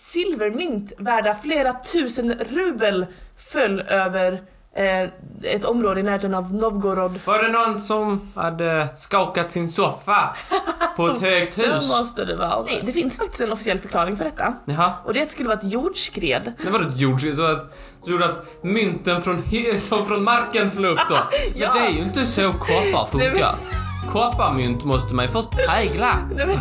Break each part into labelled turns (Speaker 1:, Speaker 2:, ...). Speaker 1: silvermynt värda flera tusen rubel föll över eh, ett område i närheten av Novgorod.
Speaker 2: Var det någon som hade skakat sin soffa på ett
Speaker 1: Som-
Speaker 2: högt
Speaker 1: Så
Speaker 2: hus?
Speaker 1: måste det vara. Nej, det finns faktiskt en officiell förklaring för detta.
Speaker 2: Jaha.
Speaker 1: Och det skulle vara ett jordskred.
Speaker 2: Det var ett jordskred så att, så gjorde att mynten från, hy- som från marken flög upp då. Men
Speaker 1: Ja.
Speaker 2: det är ju inte så koppar funkar. Kopparmynt måste man ju först prägla.
Speaker 1: Nej, men-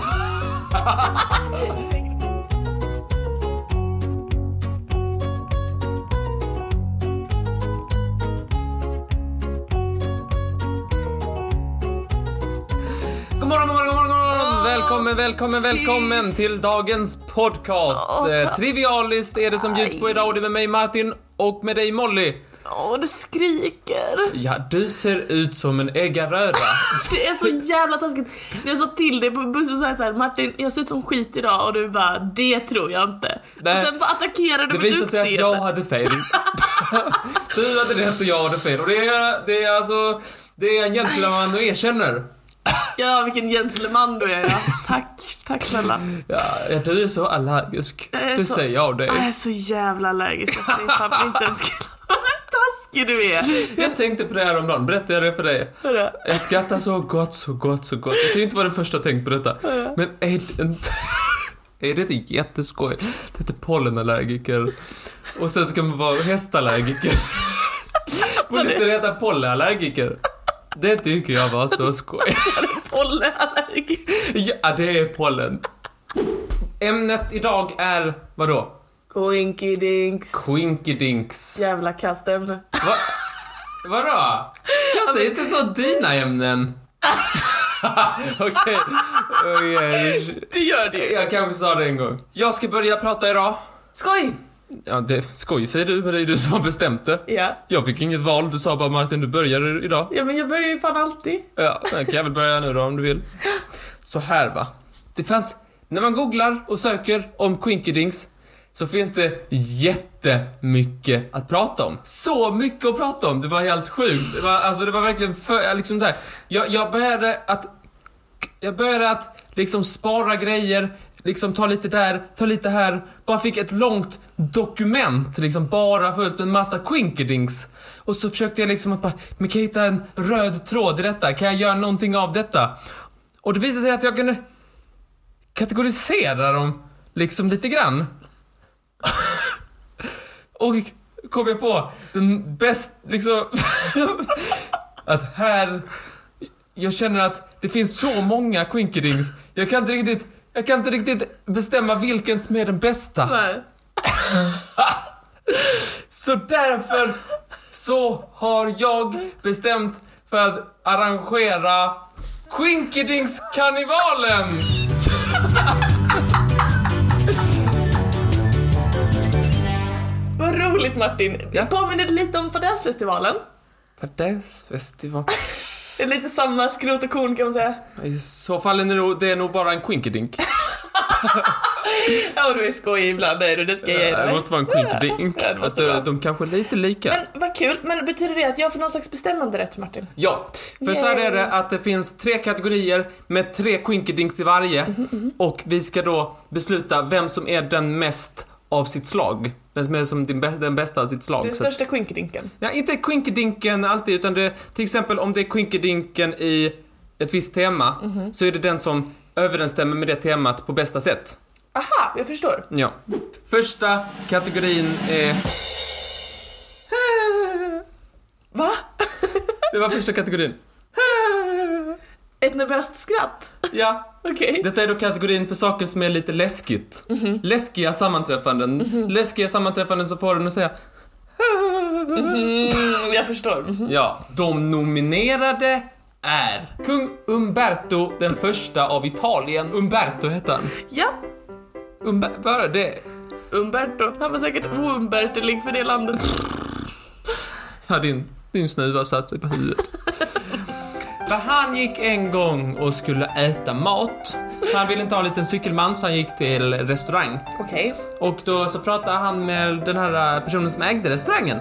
Speaker 2: God morgon, god morgon, god morgon, god morgon.
Speaker 1: Åh,
Speaker 2: Välkommen, välkommen, välkommen
Speaker 1: tyst.
Speaker 2: till dagens podcast.
Speaker 1: Åh,
Speaker 2: Eh,
Speaker 1: tack.
Speaker 2: Trivialiskt är det som bjuds på idag och det är med mig Martin och med dig Molly.
Speaker 1: Åh, du skriker.
Speaker 2: Ja, du ser ut som en äggaröra.
Speaker 1: Det är så jävla taskigt. Jag sa till dig på bussen så här, så här Martin, jag ser ut som skit idag och du bara, det tror jag inte.
Speaker 2: Nej.
Speaker 1: Och sen bara attackerar du
Speaker 2: Det
Speaker 1: mitt
Speaker 2: visade sig att jag
Speaker 1: utseende.
Speaker 2: hade fel. du hade rätt och jag hade fel. Och det är, det är alltså, det är en gentleman och erkänner.
Speaker 1: Ja, vilken gentleman du är. Ja. Tack, tack snälla.
Speaker 2: Ja, du är så allergisk.
Speaker 1: Jag är
Speaker 2: Det
Speaker 1: så-
Speaker 2: säger jag
Speaker 1: Ah, Jag
Speaker 2: det.
Speaker 1: är så jävla allergisk. Jag säger fan inte ens Vad taskig du är.
Speaker 2: Jag tänkte på det här om dagen. berättade jag det för dig?
Speaker 1: Hörru.
Speaker 2: Jag skrattar så gott, så gott, så gott. Jag kan ju inte vara den första att tänka på detta. Men är det inte... Är det inte jätteskoj? Det heter pollenallergiker. Och sen ska man vara hästallergiker. Borde inte det heta pollenallergiker? Det tycker jag var så skoj.
Speaker 1: Pollenallergisk.
Speaker 2: Ja, det är pollen. Ämnet idag är vadå?
Speaker 1: Koinkidinks.
Speaker 2: Quinkydinks.
Speaker 1: Jävla kastämne.
Speaker 2: Va? Vadå? Jag säger inte så dina ämnen. Okej, okej.
Speaker 1: Det gör det ju.
Speaker 2: Jag kanske sa det en gång. Jag ska börja prata idag.
Speaker 1: Skoj!
Speaker 2: Ja, det skoj säger du, men det är du som har bestämt det.
Speaker 1: Ja.
Speaker 2: Jag fick inget val, du sa bara Martin, du börjar idag.
Speaker 1: ja, men jag börjar ju fan alltid.
Speaker 2: Ja, sen kan jag väl börja nu då om du vill. Så här va. Det fanns, när man googlar och söker om Quinkydinks så finns det jättemycket att prata om. Så mycket att prata om, det var helt sjukt. Det var, alltså det var verkligen för, liksom där. Jag, jag började att, jag började att liksom spara grejer, liksom ta lite där, ta lite här. Bara fick ett långt dokument liksom bara fullt med massa quinkydinks. Och så försökte jag liksom att bara, men kan jag hitta en röd tråd i detta? Kan jag göra någonting av detta? Och det visade sig att jag kunde kategorisera dem liksom lite grann. Och kom jag på den bäst, liksom... att här... Jag känner att det finns så många quinkydings. Jag kan inte riktigt... Jag kan inte riktigt bestämma vilken som är den bästa.
Speaker 1: Nej.
Speaker 2: Så därför så har jag bestämt för att arrangera Quinkydings-karnevalen!
Speaker 1: Vad roligt Martin.
Speaker 2: Ja.
Speaker 1: Det påminner lite om Fadäsfestivalen.
Speaker 2: Fadäsfestival.
Speaker 1: Det är lite samma skrot och korn kan man säga.
Speaker 2: I så fall är det nog, det är nog bara en quinkydink.
Speaker 1: Ja, och du är skojig ibland, är du. Det ska jag ge
Speaker 2: Eh, Det
Speaker 1: dig.
Speaker 2: måste vara en quinkydink.
Speaker 1: Ja, det
Speaker 2: Att
Speaker 1: måste
Speaker 2: de,
Speaker 1: vara.
Speaker 2: de kanske är lite lika.
Speaker 1: Men vad kul. Men betyder det att jag får någon slags bestämmande rätt Martin?
Speaker 2: Ja, för så här är det att det finns tre kategorier med tre quinkydinks i varje.
Speaker 1: Mm-hmm,
Speaker 2: Och vi ska då besluta vem som är den mest av sitt slag. Den som är som din bä- den bästa av sitt slag.
Speaker 1: Den
Speaker 2: så att-
Speaker 1: största quinkydinken.
Speaker 2: Ja, inte quinkydinken alltid, utan det, till exempel om det är quinkydinken i ett visst tema,
Speaker 1: Mm-hmm.
Speaker 2: så är det den som överensstämmer med det temat på bästa sätt.
Speaker 1: Aha, jag förstår.
Speaker 2: Ja. Första kategorin är...
Speaker 1: Va?
Speaker 2: Det var första kategorin.
Speaker 1: Ett nervöst skratt?
Speaker 2: Ja.
Speaker 1: Okej.
Speaker 2: Detta är då kategorin för saker som är lite läskigt. Läskiga sammanträffanden. Läskiga sammanträffanden som får en att säga
Speaker 1: Mm, jag förstår. Mhm.
Speaker 2: Ja, de nominerade är kung Umberto den första av Italien. Umberto hette han.
Speaker 1: Ja,
Speaker 2: Umber... Bara det?
Speaker 1: Umberto. Han var säkert oumbärtelig för det landet.
Speaker 2: Ja, din, din snuva satt sig på huvudet. För han gick en gång och skulle äta mat. Han ville inte ha en liten cykelman så han gick till restaurang.
Speaker 1: Okej.
Speaker 2: Och då så pratade han med den här eh, personen som ägde restaurangen.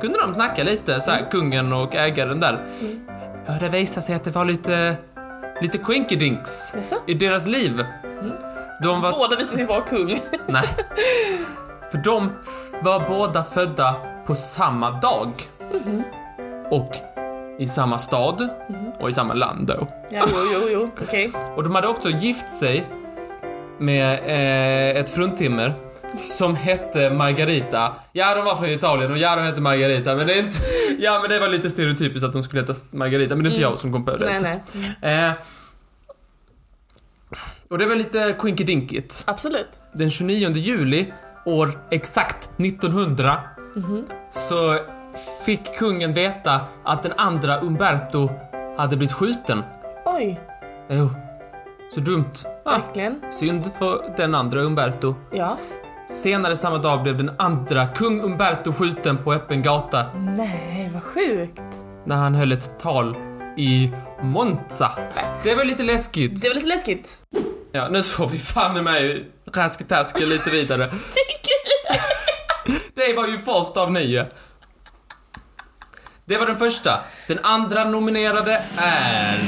Speaker 2: Kunde de snacka lite, så här, kungen och ägaren där. Ja, det visade sig att det var lite, lite quinkydinks
Speaker 1: Jaså?
Speaker 2: i deras liv. De var...
Speaker 1: Båda visade sig vara kung.
Speaker 2: Nej. För de var båda födda på samma dag. Och i samma stad och i samma land då.
Speaker 1: Ja, jo, jo, jo. Okej.
Speaker 2: Och de hade också gift sig med eh, ett fruntimmer som hette Margarita. Ja, de var från Italien och ja, de hette Margarita, men det är inte... Ja, men det var lite stereotypiskt att de skulle heta Margarita, men det är inte jag som kom på det.
Speaker 1: Mm. Nej, nej.
Speaker 2: Eh, och det var lite quinky-dinkigt.
Speaker 1: Absolut.
Speaker 2: Den 29 juli, år exakt 1900,
Speaker 1: Mhm.
Speaker 2: så fick kungen veta att den andra Umberto hade blivit skjuten.
Speaker 1: Oj,
Speaker 2: Jo, så dumt. Ah,
Speaker 1: verkligen.
Speaker 2: synd för den andra Umberto.
Speaker 1: Ja.
Speaker 2: Senare samma dag blev den andra kung Umberto skjuten på öppen gata
Speaker 1: Nej, vad sjukt.
Speaker 2: när han höll ett tal i Monza. Det var lite läskigt.
Speaker 1: Det var lite läskigt.
Speaker 2: Ja, nu får vi fan i mig rasketaska lite vidare. Det var ju första av nio. Det var den första. Den andra nominerade är...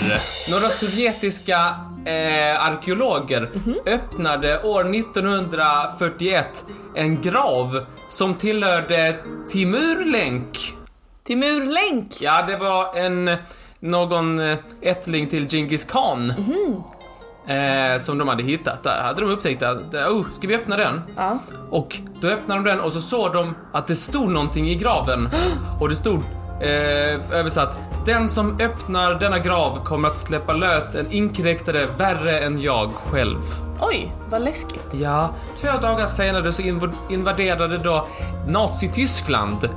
Speaker 2: Några sovjetiska eh, arkeologer öppnade år 1941 en grav som tillhörde Timurlenk.
Speaker 1: Timur Lenk.
Speaker 2: Ja, det var en... Någon eh, ättling till Genghis Khan. Eh, som de hade hittat där. Hade de upptäckt att, oh, ska vi öppna den?
Speaker 1: Ja.
Speaker 2: Och då öppnade de den och så såg de att det stod någonting i graven. Och det stod eh, översatt. Den som öppnar denna grav kommer att släppa lös en inkräktare värre än jag själv.
Speaker 1: Oj, vad läskigt.
Speaker 2: Ja, två dagar senare så inv- invaderade då Nazityskland.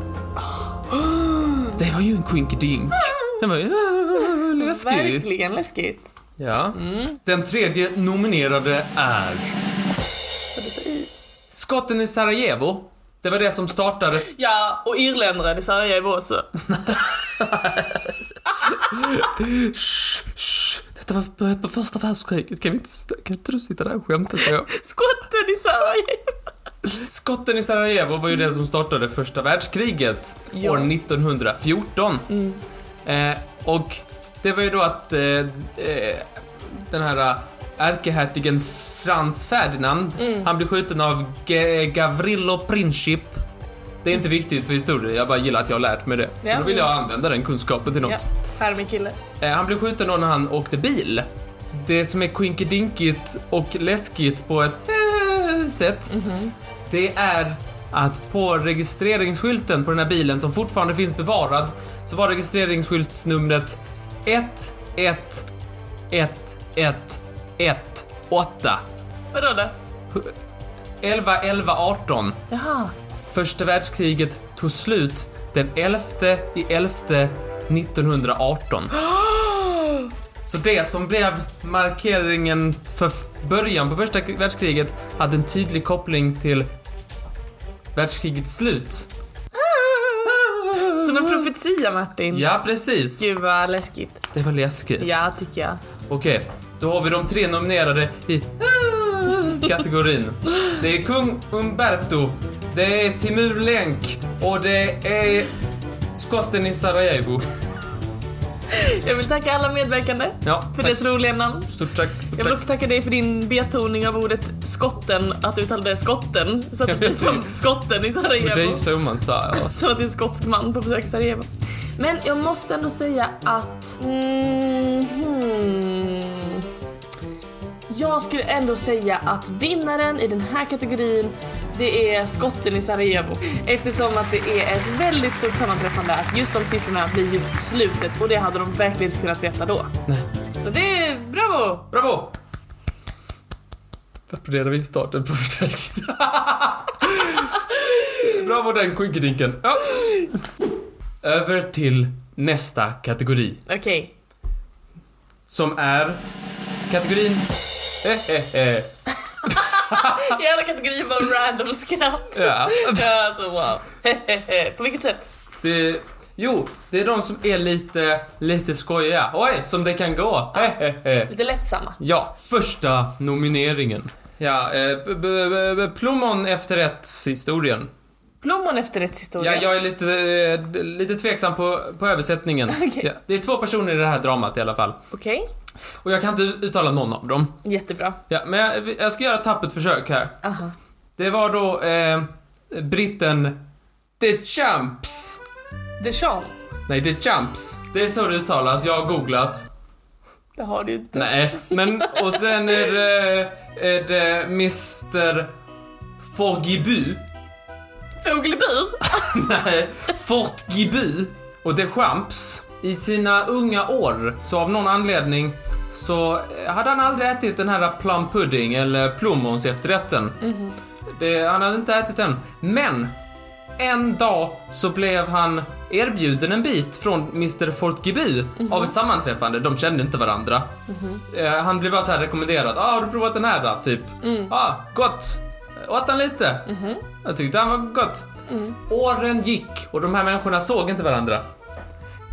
Speaker 2: Det var ju en quinkydink. Den var ju ah, läskig.
Speaker 1: Verkligen läskigt.
Speaker 2: Ja. Mm. Den tredje nominerade är
Speaker 1: Vad det tar i.
Speaker 2: skotten i Sarajevo. Det var det som startade
Speaker 1: Ja, och irländaren i Sarajevo också.
Speaker 2: Shh, shh. Detta var början på första världskriget. Kan, vi inte, kan inte du sitta där och skämta? säger jag.
Speaker 1: Skotten i Sarajevo.
Speaker 2: Skotten i Sarajevo var ju det som startade första världskriget
Speaker 1: Ja. Mm.
Speaker 2: år 1914. Eh, och det var ju då att eh, eh, den här eh, ärkehertigen Frans Ferdinand,
Speaker 1: Mm.
Speaker 2: han blev skjuten av G- Gavrilo Princip. Det är inte viktigt för historia, jag bara gillar att jag har lärt mig det.
Speaker 1: Mm. Ja.
Speaker 2: Så då vill jag använda den kunskapen till något.
Speaker 1: Ja, här är min kille.
Speaker 2: Eh, Han blev skjuten då när han åkte bil. Det som är quinkedinkigt och läskigt på ett eh, sätt, det är att på registreringsskylten på den här bilen som fortfarande finns bevarad så var registreringsskyltsnumret 111118.
Speaker 1: Vadå då?
Speaker 2: 11 11 18.
Speaker 1: Jaha.
Speaker 2: Första världskriget tog slut den 11 i 11 1918. Så det som blev markeringen för f- början på första k- världskriget hade en tydlig koppling till världskrigets slut.
Speaker 1: Som en profetia Martin.
Speaker 2: Ja, precis.
Speaker 1: Gud vad läskigt.
Speaker 2: Det var läskigt.
Speaker 1: Ja, tycker jag.
Speaker 2: Okej, då har vi de tre nominerade i kategorin. Det är kung Umberto, det är Timur Lenk och det är skotten i Sarajevo.
Speaker 1: Jag vill tacka alla medverkande
Speaker 2: Ja,
Speaker 1: för
Speaker 2: tack.
Speaker 1: deras roliga namn.
Speaker 2: Stort tack.
Speaker 1: Jag vill också tacka dig för din betoning av ordet skotten, att du uttalade skotten. Så att det blir som skotten i
Speaker 2: Och det är ju
Speaker 1: Sarajevo.
Speaker 2: så man sa. ja.
Speaker 1: Som att det är en skotsk man på besök i Sarajevo. Men jag måste ändå säga att... Mm, hmm. Jag skulle ändå säga att vinnaren i den här kategorin det är skotten i Sarajevo. Eftersom att det är ett väldigt stort sammanträffande att just de siffrorna blir just slutet och det hade de verkligen inte kunnat veta då. Så det är bravo!
Speaker 2: Bravo! Applåderar vi starten på förstärkning. Bravo den skinkedinken. Ja. Över till nästa kategori.
Speaker 1: Okej.
Speaker 2: Som är kategorin... Hehehe.
Speaker 1: I alla kategorier bara random skratt.
Speaker 2: Ja.
Speaker 1: Ja, alltså wow. På vilket sätt?
Speaker 2: Det, jo, det är de som är lite, lite skojiga. Oj, som det kan gå. Hehehe.
Speaker 1: Lite lättsamma.
Speaker 2: Ja, första nomineringen. Ja, eh, b- b- b- plommon efterrättshistorien.
Speaker 1: Plommon efter ett historia.
Speaker 2: Ja, jag är lite, eh, lite tveksam på, på översättningen.
Speaker 1: Okej.
Speaker 2: Ja, det är två personer i det här dramat i alla fall.
Speaker 1: Okej.
Speaker 2: Och jag kan inte uttala någon av dem.
Speaker 1: Jättebra.
Speaker 2: Ja, men jag, jag ska göra ett tappert försök här.
Speaker 1: Aha.
Speaker 2: Det var då eh, britten The Champs.
Speaker 1: Deschamps.
Speaker 2: Nej, The Champs. Det är så det uttalas, jag har googlat.
Speaker 1: Det har du ju inte.
Speaker 2: Nej, men och sen är det, eh, är det Mr. Forgibu.
Speaker 1: Fågelbur?
Speaker 2: Nej, Fortgibu och Deschamps. I sina unga år, så av någon anledning, så hade han aldrig ätit den här plum pudding eller plommons i efterrätten. Det, han hade inte ätit den. Men! En dag så blev han erbjuden en bit från Mr Fortgibu av ett sammanträffande. De kände inte varandra. Eh, Han blev bara så här rekommenderad. Ah, har du provat den här då? Typ. Ah, gott! Åt han lite? Jag tyckte han var gott. Åren gick och de här människorna såg inte varandra.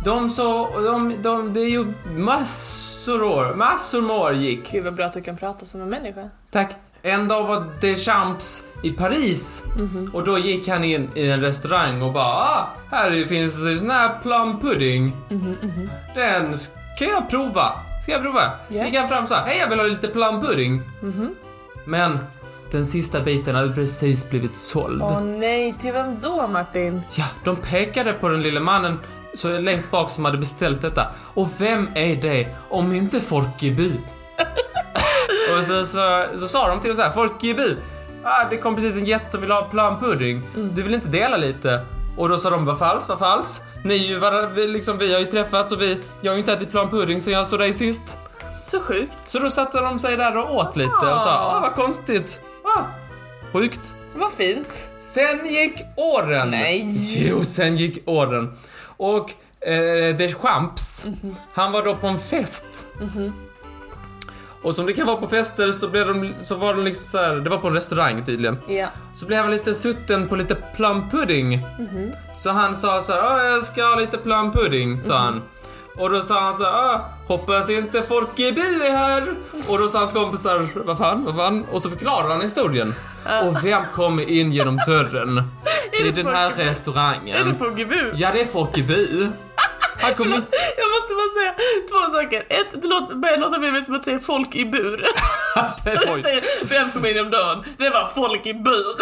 Speaker 2: De så, de, de, det är ju massor år, massor med år gick.
Speaker 1: Gud vad bra att du kan prata som en människa.
Speaker 2: Tack. En dag var Deschamps i Paris
Speaker 1: Mhm.
Speaker 2: och då gick han in i en restaurang och bara ah, här finns det sån här plum pudding.
Speaker 1: Mhm,
Speaker 2: Den ska jag prova. Ska jag prova?
Speaker 1: Ja.
Speaker 2: Så
Speaker 1: Mhm.
Speaker 2: gick han fram och sa hej jag vill ha lite plum pudding. Men den sista biten hade precis blivit såld.
Speaker 1: Åh nej, till vem då Martin?
Speaker 2: Ja, de pekade på den lille mannen så längst bak som hade beställt detta. Och vem är det om inte Forkibu? och så, så, så sa de till honom så här, Forkibu, ah, det kom precis en gäst som vill ha planpudding. Du vill inte dela lite? Och då sa de, vad falskt, vad falskt. Ni är ju var, vi, liksom, vi har ju träffats och vi, jag har ju inte ätit planpudding sen jag såg dig sist.
Speaker 1: Så sjukt.
Speaker 2: Så då satte de sig där och åt lite och sa, ah, vad konstigt. Ah, sjukt.
Speaker 1: Vad fint.
Speaker 2: Sen gick åren!
Speaker 1: Nej.
Speaker 2: Jo, sen gick åren. Och eh, Deschamps, han var då på en fest. Och som det kan vara på fester så blev de, så var de liksom så här, det var på en restaurang tydligen.
Speaker 1: Ja.
Speaker 2: Så blev han lite sutten på lite plum pudding.
Speaker 1: Mhm.
Speaker 2: Så han sa så här, "Åh, jag ska ha lite plum pudding,
Speaker 1: Mhm.
Speaker 2: sa han. Och då sa han så här, "Åh, hoppas inte folk i by är här. Och då sa hans kompisar, vad fan, vad fan? Och så förklarade han historien. Och vem kom in genom dörren?
Speaker 1: det
Speaker 2: I den här
Speaker 1: folk i by? Är det
Speaker 2: restaurangen.
Speaker 1: fågelbur?
Speaker 2: Ja, det är folk i by. Han kom in.
Speaker 1: Jag måste bara säga två saker. Ett, det låter, börjar låta mer som att säga folk i bur.
Speaker 2: Det är
Speaker 1: Så jag
Speaker 2: folk.
Speaker 1: säger, vem kom in om dagen? Det var folk i bur.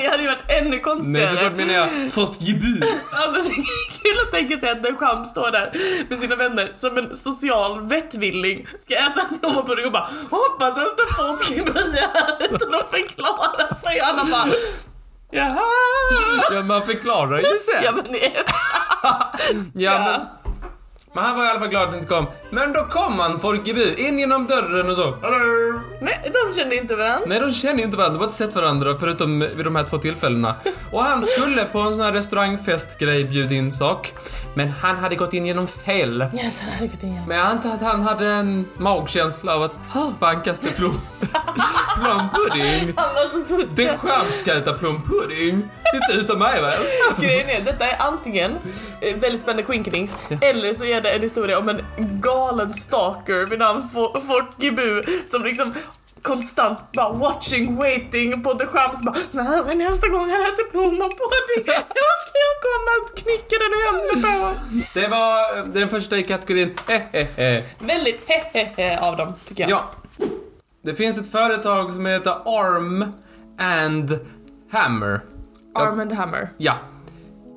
Speaker 1: det hade ju varit ännu
Speaker 2: Nej,
Speaker 1: konstigare.
Speaker 2: såklart menar jag folk i by.
Speaker 1: Ja, men Alltså, det är kul att tänka sig att Deschamps står där med sina vänner som en social vettvilling ska äta en plommonpudding och bara hoppas att inte folk i byn är här utan att förklara sig och alla bara jaha.
Speaker 2: Ja, man förklarar ju sen.
Speaker 1: Ja men nej.
Speaker 2: Ja,
Speaker 1: Ja.
Speaker 2: Men, men han var i alla fall glad att det inte kom. Men då kom han, Forkebu, in genom dörren och så. Hallå!
Speaker 1: nej, de kände inte varandra.
Speaker 2: Nej, de känner ju inte varandra, de har inte sett varandra förutom vid de här två tillfällena. Och han skulle på en sån här restaurangfestgrej bjuda in sak. Men han hade gått in genom fel.
Speaker 1: Yes, han hade gått igenom.
Speaker 2: Men jag antar att han hade en magkänsla av att "Ha, vankas det plom... plompudding?
Speaker 1: Han var så suttig.
Speaker 2: Det skönt ska äta plompudding. Inte utan mig väl?
Speaker 1: Grejen är, detta är antingen eh, väldigt spännande quinkings eller så är det en historia om en galen stalker vid namn Fo- Fort Gibu som liksom konstant bara watching, waiting på the chans bara När är nästa gång han äter blommor på dig? När ska jag komma och knycka den i händerna på?
Speaker 2: Det var den första i kategorin hehehe.
Speaker 1: Väldigt hehehe av dem tycker jag.
Speaker 2: Ja. Det finns ett företag som heter Arm and Hammer.
Speaker 1: Arm and Hammer.
Speaker 2: Ja.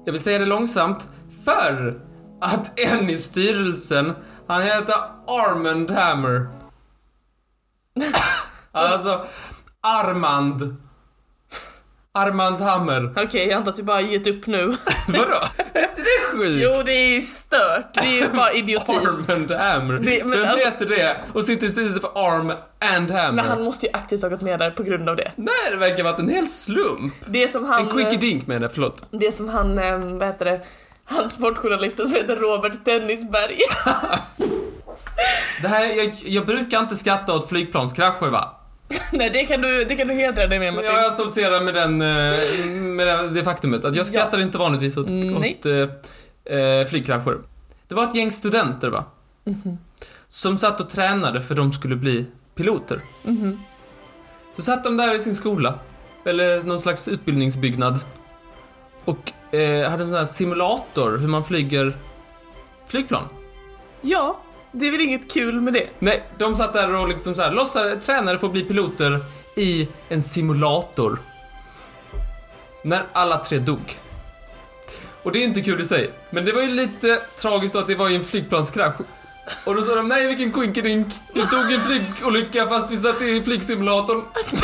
Speaker 2: Jag vill säga det långsamt. För att en i styrelsen, han heter Armand Hammer. alltså, Armand. Armand Hammer.
Speaker 1: Okej, jag antar att du bara gett upp nu.
Speaker 2: Vadå? Är inte det sjukt?
Speaker 1: Jo, det är stört. Det är bara idioti.
Speaker 2: Arm and Hammer.
Speaker 1: Det- men
Speaker 2: Vem
Speaker 1: alltså-
Speaker 2: heter det och sitter i styrelsen för Arm and Hammer?
Speaker 1: Men han måste ju aktivt ha gått med där på grund av det.
Speaker 2: Nej, det verkar ha varit en hel slump.
Speaker 1: Det som han...
Speaker 2: En quickie dink menar jag, förlåt.
Speaker 1: Det som han, eh, vad heter det, han sportjournalisten som heter Robert Tennisberg.
Speaker 2: Det här, jag, jag brukar inte skratta åt flygplanskrascher va?
Speaker 1: Nej det kan, du, det kan du hedra dig med Martin.
Speaker 2: Ja, jag stoltserar med, den, eh, med den, det faktumet att jag skrattar inte vanligtvis åt,
Speaker 1: Nej.
Speaker 2: åt eh, eh, flygkrascher. Det var ett gäng studenter va? Som satt och tränade för de skulle bli piloter. Så satt de där i sin skola, eller någon slags utbildningsbyggnad. Och eh, hade en sån här simulator hur man flyger flygplan.
Speaker 1: Ja, Det är väl inget kul med det?
Speaker 2: Nej, de satt där och liksom så här, låtsades tränare får bli piloter i en simulator. När alla tre dog. Och det är inte kul i sig, men det var ju lite tragiskt då att det var i en flygplanskrasch. Och då sa de, nej vilken quinkidink, vi dog i en flygolycka fast vi satt i flygsimulatorn.
Speaker 1: Det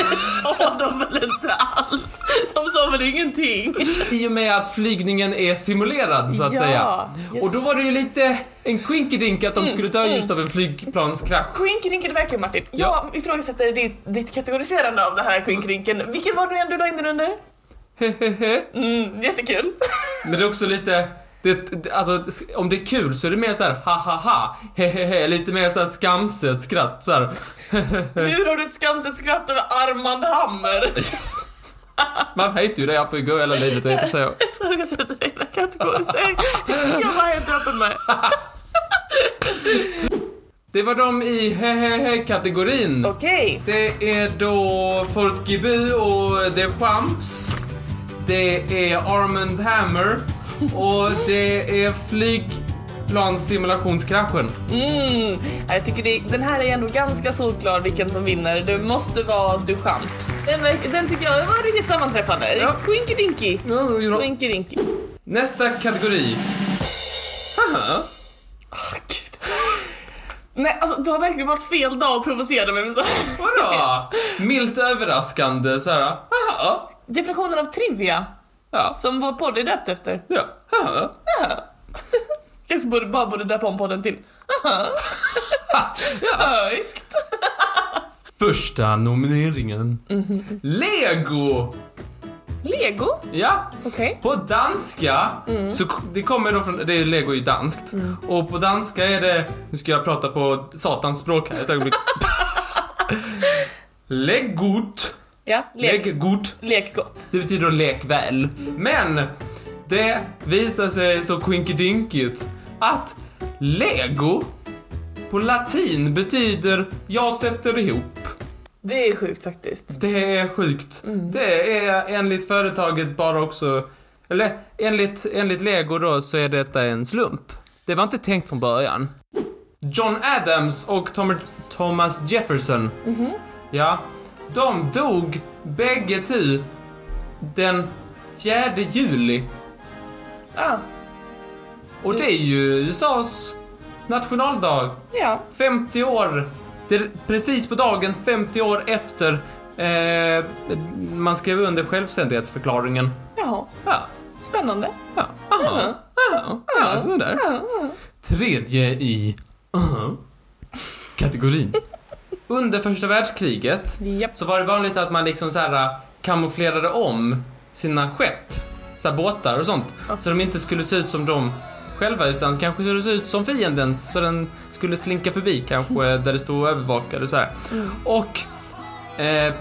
Speaker 1: sa de väl inte alls? De sa väl ingenting?
Speaker 2: I och med att flygningen är simulerad så att
Speaker 1: Ja,
Speaker 2: säga.
Speaker 1: just Mm,
Speaker 2: Och då var det ju lite en quinkidink att de skulle dö just av en flygplanskrasch.
Speaker 1: Quinkrinken verkligen Martin.
Speaker 2: Ja.
Speaker 1: Jag ifrågasätter ditt, ditt kategoriserande av det här quinkrinken. Vilken var det igen du la in den under? Mm, jättekul.
Speaker 2: Men det är också lite... Det, det- alltså, om det är kul så är det mer så här ha ha ha, he he he, lite mer så här skamset skratt så här.
Speaker 1: Hur har du ett skamset skratt över Armand Hammer?
Speaker 2: Man hatar ju dig på igår hela livet och heter så. här.
Speaker 1: Jag ifrågasätter dina kategorisering. Det ska jag vara helt öppen med.
Speaker 2: Det var de i he he he kategorin.
Speaker 1: Okej.
Speaker 2: Det är då Fort Gibu och The Champs. Det är Armand Hammer och det är flygplanssimulationskraschen.
Speaker 1: Mm. Ja, Jag tycker det, den här är ändå ganska solklar vilken som vinner. Det måste vara Duchamps. Den, verk- den tycker jag var riktigt sammanträffande.
Speaker 2: Ja.
Speaker 1: Quinkidinky.
Speaker 2: Ja, då
Speaker 1: Oh,
Speaker 2: gjorde de-
Speaker 1: Quinkidinky.
Speaker 2: Nästa kategori. Haha.
Speaker 1: Åh, Gud. Nej, alltså du har verkligen varit fel dag att provocera mig med så här.
Speaker 2: Vadå? Milt överraskande så här. Haha.
Speaker 1: Definitionen av trivia,
Speaker 2: Ja.
Speaker 1: som vår podd är döpt efter.
Speaker 2: Ja. Haha.
Speaker 1: Kanske borde, bara borde döpa om podden till
Speaker 2: ja.
Speaker 1: Öiskt.
Speaker 2: Första nomineringen. Lego!
Speaker 1: Lego?
Speaker 2: Ja.
Speaker 1: Okej.
Speaker 2: På danska, så k- det kommer då från, det är lego är ju danskt. Och på danska är det, nu ska jag prata på satans språk här ett ögonblick. Legot.
Speaker 1: Ja, lek.
Speaker 2: Legot.
Speaker 1: Lek gott.
Speaker 2: Det betyder att lek väl. Men det visar sig så quinkedinkigt att lego på latin betyder jag sätter ihop.
Speaker 1: Det är sjukt faktiskt.
Speaker 2: Det är sjukt. Det är enligt företaget bara också... Eller enligt, enligt Lego då så är detta en slump. Det var inte tänkt från början. John Adams och Tom, Thomas Jefferson. Ja. De dog bägge tu den 4 juli.
Speaker 1: Ah,
Speaker 2: Och det är ju USAs nationaldag.
Speaker 1: ja.
Speaker 2: 50 år. Det är precis på dagen 50 år efter eh, man skrev under självständighetsförklaringen.
Speaker 1: Jaha.
Speaker 2: Ja,
Speaker 1: Spännande.
Speaker 2: ja, aha, aha, ja, sådär. Tredje i aha, kategorin. Under första världskriget
Speaker 1: Japp.
Speaker 2: så var det vanligt att man liksom så här kamouflerade om sina skepp, så här båtar och sånt, så de inte skulle se ut som de själva utan kanske skulle se ut som fiendens så den skulle slinka förbi kanske där det stod övervakade och så här. Och eh,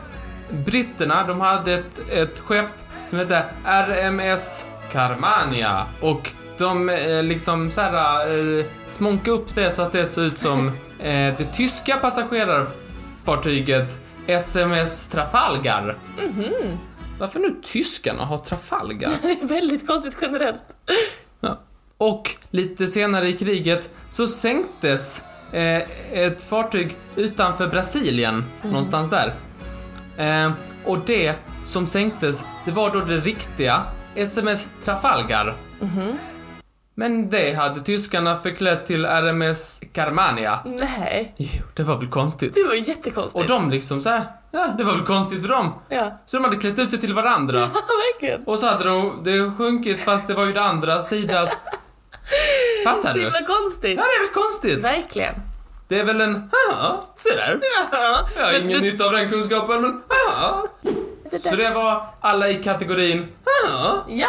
Speaker 2: britterna, de hade ett, ett skepp som hette RMS Carmania och de eh, liksom så här, eh, smonkade upp det så att det såg ut som eh, det tyska passagerarfartyget SMS Trafalgar. Varför nu tyskarna har Trafalgar?
Speaker 1: Det är väldigt konstigt generellt.
Speaker 2: Ja. Och lite senare i kriget så sänktes eh, ett fartyg utanför Brasilien, någonstans där. Eh, och det som sänktes, det var då det riktiga SMS Trafalgar. Men det hade tyskarna förklätt till RMS Carmania.
Speaker 1: Nej,
Speaker 2: Jo, det var väl konstigt.
Speaker 1: det var jättekonstigt.
Speaker 2: Och de liksom så här, ja, det var väl konstigt för dem.
Speaker 1: Ja,
Speaker 2: Så de hade klätt ut sig till varandra.
Speaker 1: verkligen.
Speaker 2: Och så hade de, det sjunkit fast det var ju det andra sidas... Fattar
Speaker 1: Så
Speaker 2: du?
Speaker 1: himla konstigt.
Speaker 2: Ja, det är väl konstigt?
Speaker 1: Verkligen.
Speaker 2: Det är väl en... Ja, se där.
Speaker 1: Ja.
Speaker 2: Jag har ingen nytta av den kunskapen, men... Ja. Så det var alla i kategorin... Ja.
Speaker 1: Ja,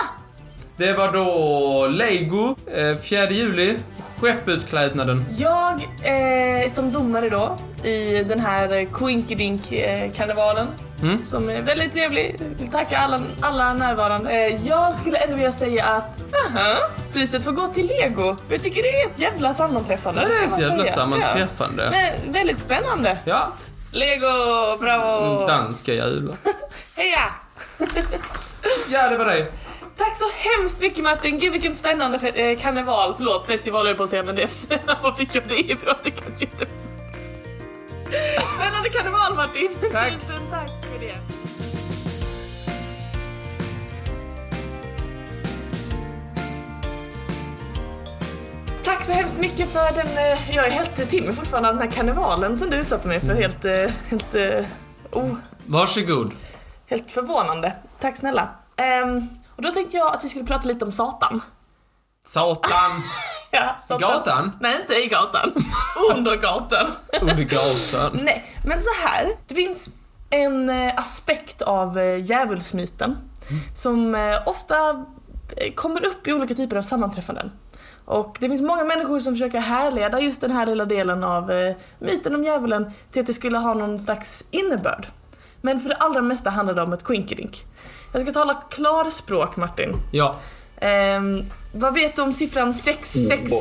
Speaker 2: Det var då Lego, eh, 4 juli, skepputklädnaden.
Speaker 1: Jag eh, som domare då i den här eh, Quinkidink-karnevalen
Speaker 2: Mm.
Speaker 1: som är väldigt trevlig, vill tacka alla, alla närvarande. Eh, jag skulle ändå vilja säga att aha, priset får gå till lego. För Jag tycker det är ett jävla sammanträffande.
Speaker 2: Ja, det
Speaker 1: ska
Speaker 2: är
Speaker 1: man
Speaker 2: så jävla
Speaker 1: säga. Ja.
Speaker 2: sammanträffande.
Speaker 1: Men väldigt spännande.
Speaker 2: Ja,
Speaker 1: Lego, bravo!
Speaker 2: Mm, danska jävlar.
Speaker 1: Heja!
Speaker 2: Ja, det var det.
Speaker 1: Tack så hemskt mycket Martin! Gud vilken spännande fe- eh, karneval, förlåt festival höll jag på att säga men det, var fick jag det ifrån? Det kan ju inte... Spännande karneval Martin!
Speaker 2: Tack.
Speaker 1: Tusen tack för det! Tack så hemskt mycket för den, eh, jag är helt till mig fortfarande av den här karnevalen som du utsatte mig för, helt, eh, helt, eh, oh,
Speaker 2: Varsågod.
Speaker 1: helt förvånande. Tack snälla. Ehm, och då tänkte jag att vi skulle prata lite om Satan.
Speaker 2: Satan.
Speaker 1: Ja, Satan.
Speaker 2: Gatan?
Speaker 1: Nej, inte i gatan. Under gatan.
Speaker 2: Under gatan.
Speaker 1: Nej, men så här. Det finns en eh, aspekt av eh, djävulsmyten som eh, ofta eh, kommer upp i olika typer av sammanträffanden. Och det finns många människor som försöker härleda just den här lilla delen av eh, myten om djävulen till att det skulle ha någon slags innebörd. Men för det allra mesta handlar det om ett quinkedink. Jag ska tala klarspråk Martin.
Speaker 2: Ja.
Speaker 1: Ehm, vad vet du om siffran 666?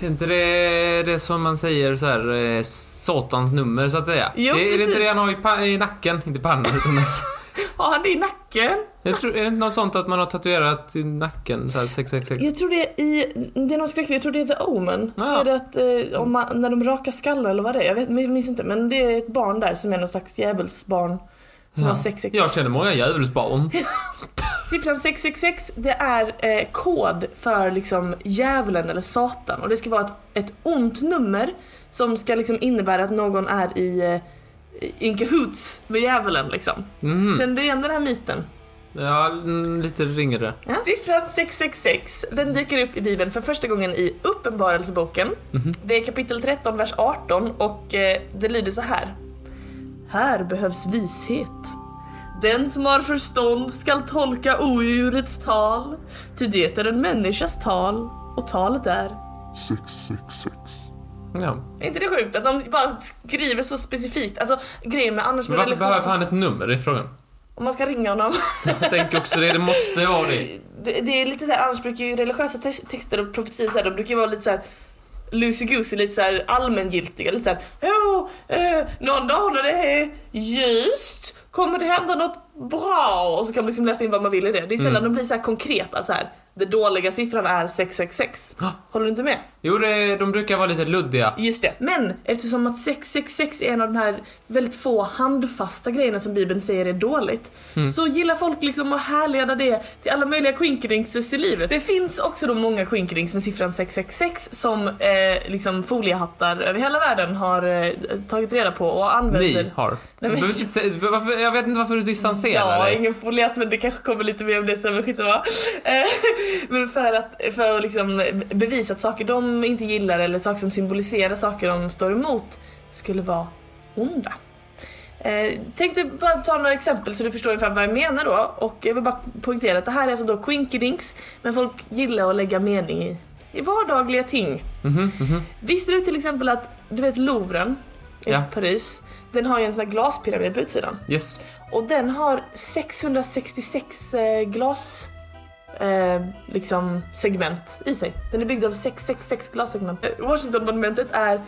Speaker 2: Är inte det det som man säger så här, eh, satans nummer så att säga?
Speaker 1: Jo,
Speaker 2: är, är det inte
Speaker 1: precis.
Speaker 2: det han har i, pa- i nacken? Inte pannan, utan nacken.
Speaker 1: Har han det i nacken?
Speaker 2: Jag tror, är det inte något sånt att man har tatuerat i nacken? Så här 666?
Speaker 1: Jag tror det är i, det är någon skräckfilm, jag tror det är The Omen. Så
Speaker 2: Ja.
Speaker 1: är det att eh, om man, när de rakar skallar eller vad det är, jag vet, jag minns inte. Men det är ett barn där som är någon slags djävulsbarn. Som
Speaker 2: Ja.
Speaker 1: har 666.
Speaker 2: Jag känner många djävulsbarn.
Speaker 1: Siffran 666 det är eh, kod för liksom djävulen eller satan och det ska vara ett, ett ont nummer som ska liksom innebära att någon är i eh, in cahoots med djävulen liksom.
Speaker 2: Mm.
Speaker 1: Känner du igen den här myten?
Speaker 2: Ja, mm, lite ringer det.
Speaker 1: Ja. Siffran 666, den dyker upp i Bibeln för första gången i Uppenbarelseboken.
Speaker 2: Mhm.
Speaker 1: Det är kapitel 13, vers 18 och eh, det lyder så här. Här behövs vishet. Den som har förstånd skall tolka odjurets tal, ty det är en människas tal och talet är.
Speaker 3: 666.
Speaker 2: Ja.
Speaker 1: Är inte det sjukt att de bara skriver så specifikt? Alltså grejen med annars
Speaker 2: Men
Speaker 1: med
Speaker 2: varför behöver
Speaker 1: religion,
Speaker 2: han ett nummer? i frågan.
Speaker 1: om man ska ringa honom.
Speaker 2: Jag tänker också det, det måste vara det.
Speaker 1: det, det är lite så här, annars brukar ju religiösa te- texter och profetior så här, de brukar ju vara lite så här loosey-goosey, lite så här allmängiltiga, lite så här, "Åh, eh, någon dag när det är ljust kommer det hända något bra och så kan man liksom läsa in vad man vill i det. Det är sällan de blir så här konkreta så här. Den dåliga siffran är 666.
Speaker 2: Ja.
Speaker 1: Håller du inte med?
Speaker 2: Jo, det, de brukar vara lite luddiga.
Speaker 1: Just det. Men eftersom att 666 är en av de här väldigt få handfasta grejerna som Bibeln säger är dåligt. Så gillar folk liksom att härleda det till alla möjliga quinkedings i livet. Det finns också då många quinkedings med siffran 666 som eh, liksom foliehattar över hela världen har eh, tagit reda på och använder.
Speaker 2: Ni har. Du
Speaker 1: men-
Speaker 2: behöver inte se, du behöver- varför, jag vet inte varför du distanserar
Speaker 1: Ja,
Speaker 2: dig.
Speaker 1: ingen foliat men det kanske kommer lite mer om det sen, men skitsamma. Eh, men för att, för att liksom bevisa att saker de inte gillar eller saker som symboliserar saker de står emot skulle vara onda. Eh, tänkte bara ta några exempel så du förstår ungefär vad jag menar då. Och jag vill bara poängtera att det här är alltså då quinkedinks, men folk gillar att lägga mening i, i vardagliga ting.
Speaker 2: Mhm,
Speaker 1: Visste du till exempel att, du vet Louvren i
Speaker 2: Ja.
Speaker 1: Paris, den har ju en sån här glaspyramid på utsidan.
Speaker 2: Yes.
Speaker 1: Och den har 666 eh, glas eh, liksom segment i sig. Den är byggd av 666 glassegment. Eh, Washingtonmonumentet är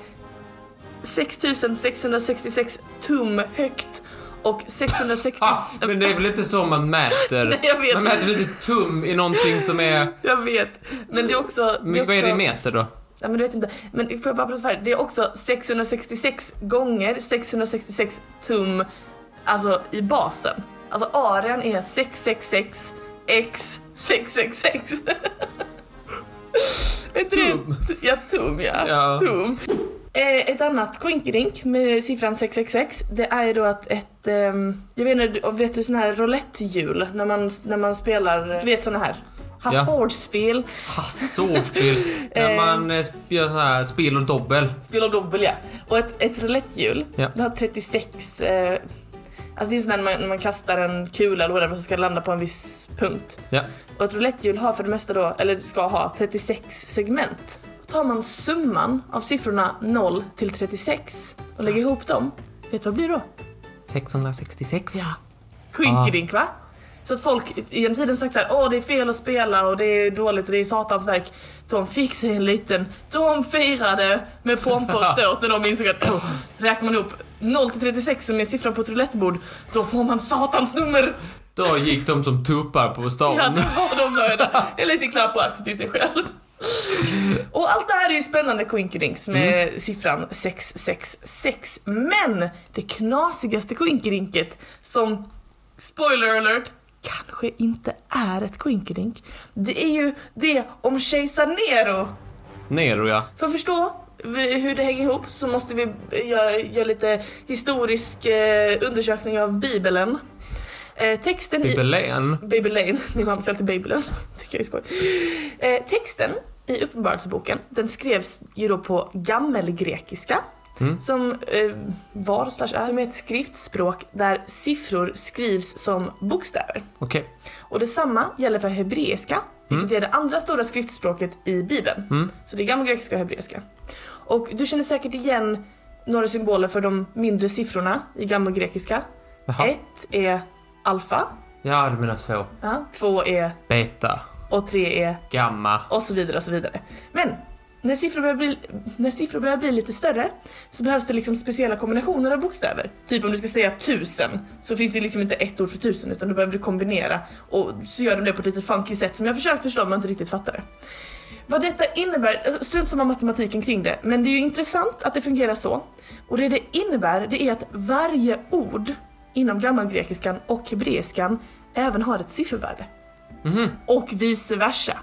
Speaker 1: 6666 tum högt och 666...
Speaker 2: Ah, men det är väl inte så man mäter?
Speaker 1: Nej, jag vet.
Speaker 2: Man mäter väl inte tum i någonting som är...
Speaker 1: Jag vet. Men det är också...
Speaker 2: Men
Speaker 1: det är
Speaker 2: vad är det
Speaker 1: också-
Speaker 2: i meter då?
Speaker 1: Ja, men du vet inte. Men får jag bara prata färdigt? Det är också 666 gånger 666 tum alltså i basen. Alltså arean är 666 x 666. Är inte det-
Speaker 2: Tum.
Speaker 1: Ja, tum ja.
Speaker 2: Ja.
Speaker 1: Tum. Eh, Ett annat quinkedink med siffran 666 det är ju då att ett, ehm, jag vet inte, och vet du sådana här roulettehjul när man, när man spelar, du vet sådana här hasardspel,
Speaker 2: Hasardspel. Ah, När
Speaker 1: Eh.
Speaker 2: man eh, sp- gör så här spel och dobbel.
Speaker 1: spel av dobbel ja. Och ett, ett roulettehjul,
Speaker 2: Ja.
Speaker 1: det har 36, eh, alltså det är sådär när man, när man kastar en kula eller whatever så ska det landa på en viss punkt.
Speaker 2: Ja.
Speaker 1: Och ett roulettehjul har för det mesta då, eller ska ha, 36 segment. Tar man summan av siffrorna 0 till 36 och lägger ihop dem, vet du vad det blir då?
Speaker 2: 666.
Speaker 1: Ja. Quinkedink va? Så att folk genom tiden sagt såhär, åh det är fel att spela och det är dåligt och det är satans verk. De fick sig en liten, de firade med pompa och ståt när de insåg att åh, räknar man ihop 0 till 36 som är siffran på ett roulettebord, då får man satans nummer!
Speaker 2: Då gick de som tuppar på stan.
Speaker 1: Ja, det var de nöjda. En liten klapp på axeln till sig själv. Och allt det här är ju spännande Quinkedinks med siffran 666. Men det knasigaste Quinkedinket som, spoiler alert, kanske inte är ett Quinkedink. Det är ju det om kejsar Nero.
Speaker 2: Nero ja.
Speaker 1: För att förstå v- hur det hänger ihop så måste vi eh, göra, göra lite historisk eh, undersökning av Bibeln. Eh, texten i
Speaker 2: Bibelén.
Speaker 1: Babylane, min mamma säger alltid Babylon, tycker jag är skoj. Eh, texten i Uppenbarelseboken, den skrevs ju då på gammelgrekiska. Som eh, var slash är, som är ett skriftspråk där siffror skrivs som bokstäver.
Speaker 2: Okej.
Speaker 1: Och detsamma gäller för hebreiska, vilket är det andra stora skriftspråket i bibeln. Så det är gammalgrekiska och hebreiska. Och du känner säkert igen några symboler för de mindre siffrorna i gammalgrekiska.
Speaker 2: Jaha.
Speaker 1: Ett är alfa,
Speaker 2: Ja, du menar så.
Speaker 1: ja, två är
Speaker 2: Beta.
Speaker 1: och tre är
Speaker 2: Gamma.
Speaker 1: och så vidare och så vidare. Men när siffror börjar bli, när siffror börjar bli lite större så behövs det liksom speciella kombinationer av bokstäver. Typ om du ska säga tusen så finns det liksom inte ett ord för tusen utan då behöver du kombinera och så gör de det på ett lite funky sätt som jag försökt förstå men inte riktigt fattar. Vad detta innebär, alltså, strunt samma matematiken kring det, men det är ju intressant att det fungerar så. Och det det innebär det är att varje ord inom gammalgrekiskan och hebreiskan även har ett siffervärde. Och vice versa.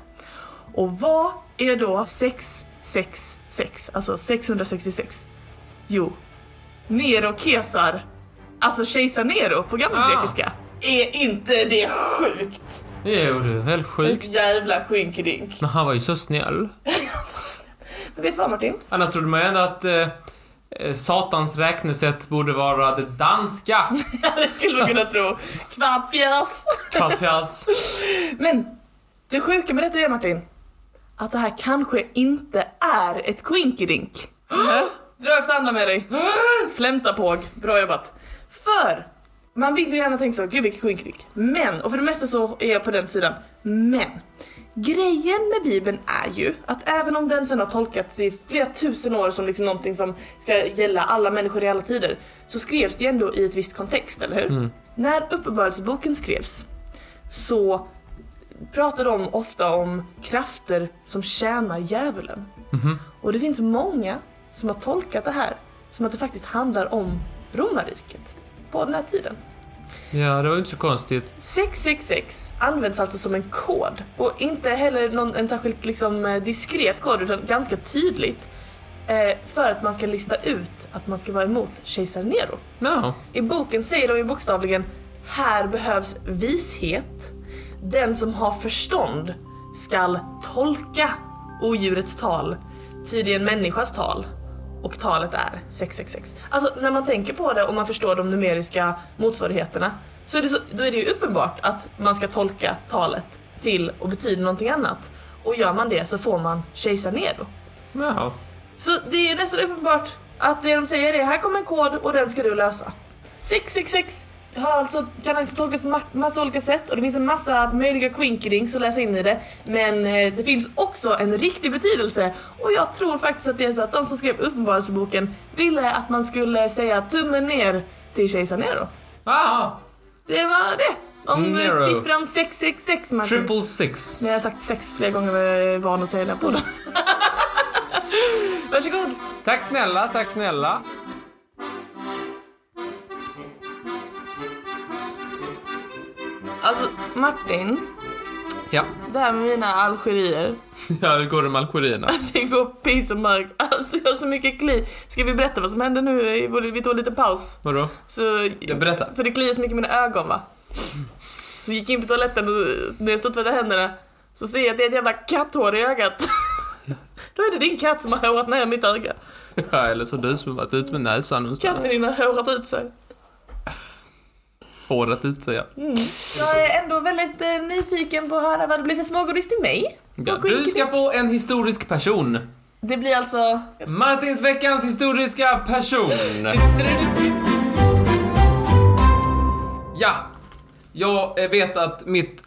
Speaker 1: Och vad är då 666, alltså 666? Jo, Nero Kesar, alltså kejsar Nero på gammalgrekiska. Är inte det sjukt?
Speaker 2: Jo, du är väl sjuk.
Speaker 1: Ett jävla skinkedink.
Speaker 2: Men han var ju så snäll.
Speaker 1: Alltså, Men vet du vad Martin?
Speaker 2: Annars trodde man ju ändå att eh, eh, Satans räknesätt borde vara det danska.
Speaker 1: det skulle man kunna tro. Kvartfjärs.
Speaker 2: Kvartfjärs.
Speaker 1: Men det sjuka med detta är Martin, att det här kanske inte är ett quinkedink. Dra efter andan med dig. Flämta påg. Bra jobbat. För man vill ju gärna tänka så, gud vilket quinkedink. Men, och för det mesta så är jag på den sidan. Men grejen med bibeln är ju att även om den sen har tolkats i flera tusen år som liksom någonting som ska gälla alla människor i alla tider så skrevs det ju ändå i ett visst kontext, eller hur? När Uppenbarelseboken skrevs så pratar de ofta om krafter som tjänar djävulen. Och det finns många som har tolkat det här som att det faktiskt handlar om romarriket på den här tiden.
Speaker 2: Ja, det var ju inte så konstigt.
Speaker 1: 666 används alltså som en kod och inte heller någon, en särskilt liksom, eh, diskret kod utan ganska tydligt eh, för att man ska lista ut att man ska vara emot kejsar Nero.
Speaker 2: No.
Speaker 1: I boken säger de ju bokstavligen Här behövs vishet. Den som har förstånd skall tolka odjurets tal, ty en människas tal. Och talet är 666. Alltså när man tänker på det och man förstår de numeriska motsvarigheterna så är det, så, då är det ju uppenbart att man ska tolka talet till och betyda någonting annat. Och gör man det så får man kejsar Nero.
Speaker 2: No.
Speaker 1: Så det är nästan uppenbart att det de säger är här kommer en kod och den ska du lösa. 666 har alltså, kan alltså tolkas på ma- massa olika sätt och det finns en massa möjliga quinkedings att läsa in i det. Men eh, det finns också en riktig betydelse och jag tror faktiskt att det är så att de som skrev Uppenbarelseboken ville att man skulle säga tummen ner till kejsar Nero.
Speaker 2: Ah,
Speaker 1: Det var det! Om eh,
Speaker 2: Nero.
Speaker 1: siffran 666 Martin.
Speaker 2: triple six.
Speaker 1: När jag har sagt sex flera gånger var jag van att säga den här podden. Varsågod!
Speaker 2: Tack snälla, tack snälla.
Speaker 1: Alltså Martin,
Speaker 2: Ja.
Speaker 1: det här med mina algerier,
Speaker 2: Ja, hur går det med algerierna?
Speaker 1: det går piss och mörk. Alltså jag har så mycket kli. Ska vi berätta vad som hände nu? Vi tog en liten paus.
Speaker 2: Vadå?
Speaker 1: Så,
Speaker 2: Ja, berätta.
Speaker 1: För det kliar så mycket i mina ögon va. Så gick jag in på toaletten och när jag stod och tvättade händerna så ser jag att det är ett jävla katthår i ögat. Då är det din katt som har hårat ner mitt öga.
Speaker 2: Ja, eller så du som varit ute med näsan någonstans.
Speaker 1: Katten din har hårat ut sig.
Speaker 2: Håret ut sig, ja.
Speaker 1: Jag är ändå väldigt eh, nyfiken på att höra vad det blir för smågodis till mig.
Speaker 2: ja.
Speaker 1: Och
Speaker 2: Du ska
Speaker 1: skinkigt.
Speaker 2: få en historisk person.
Speaker 1: Det blir alltså...
Speaker 2: Martins veckans historiska person. Ja, jag eh, vet att mitt,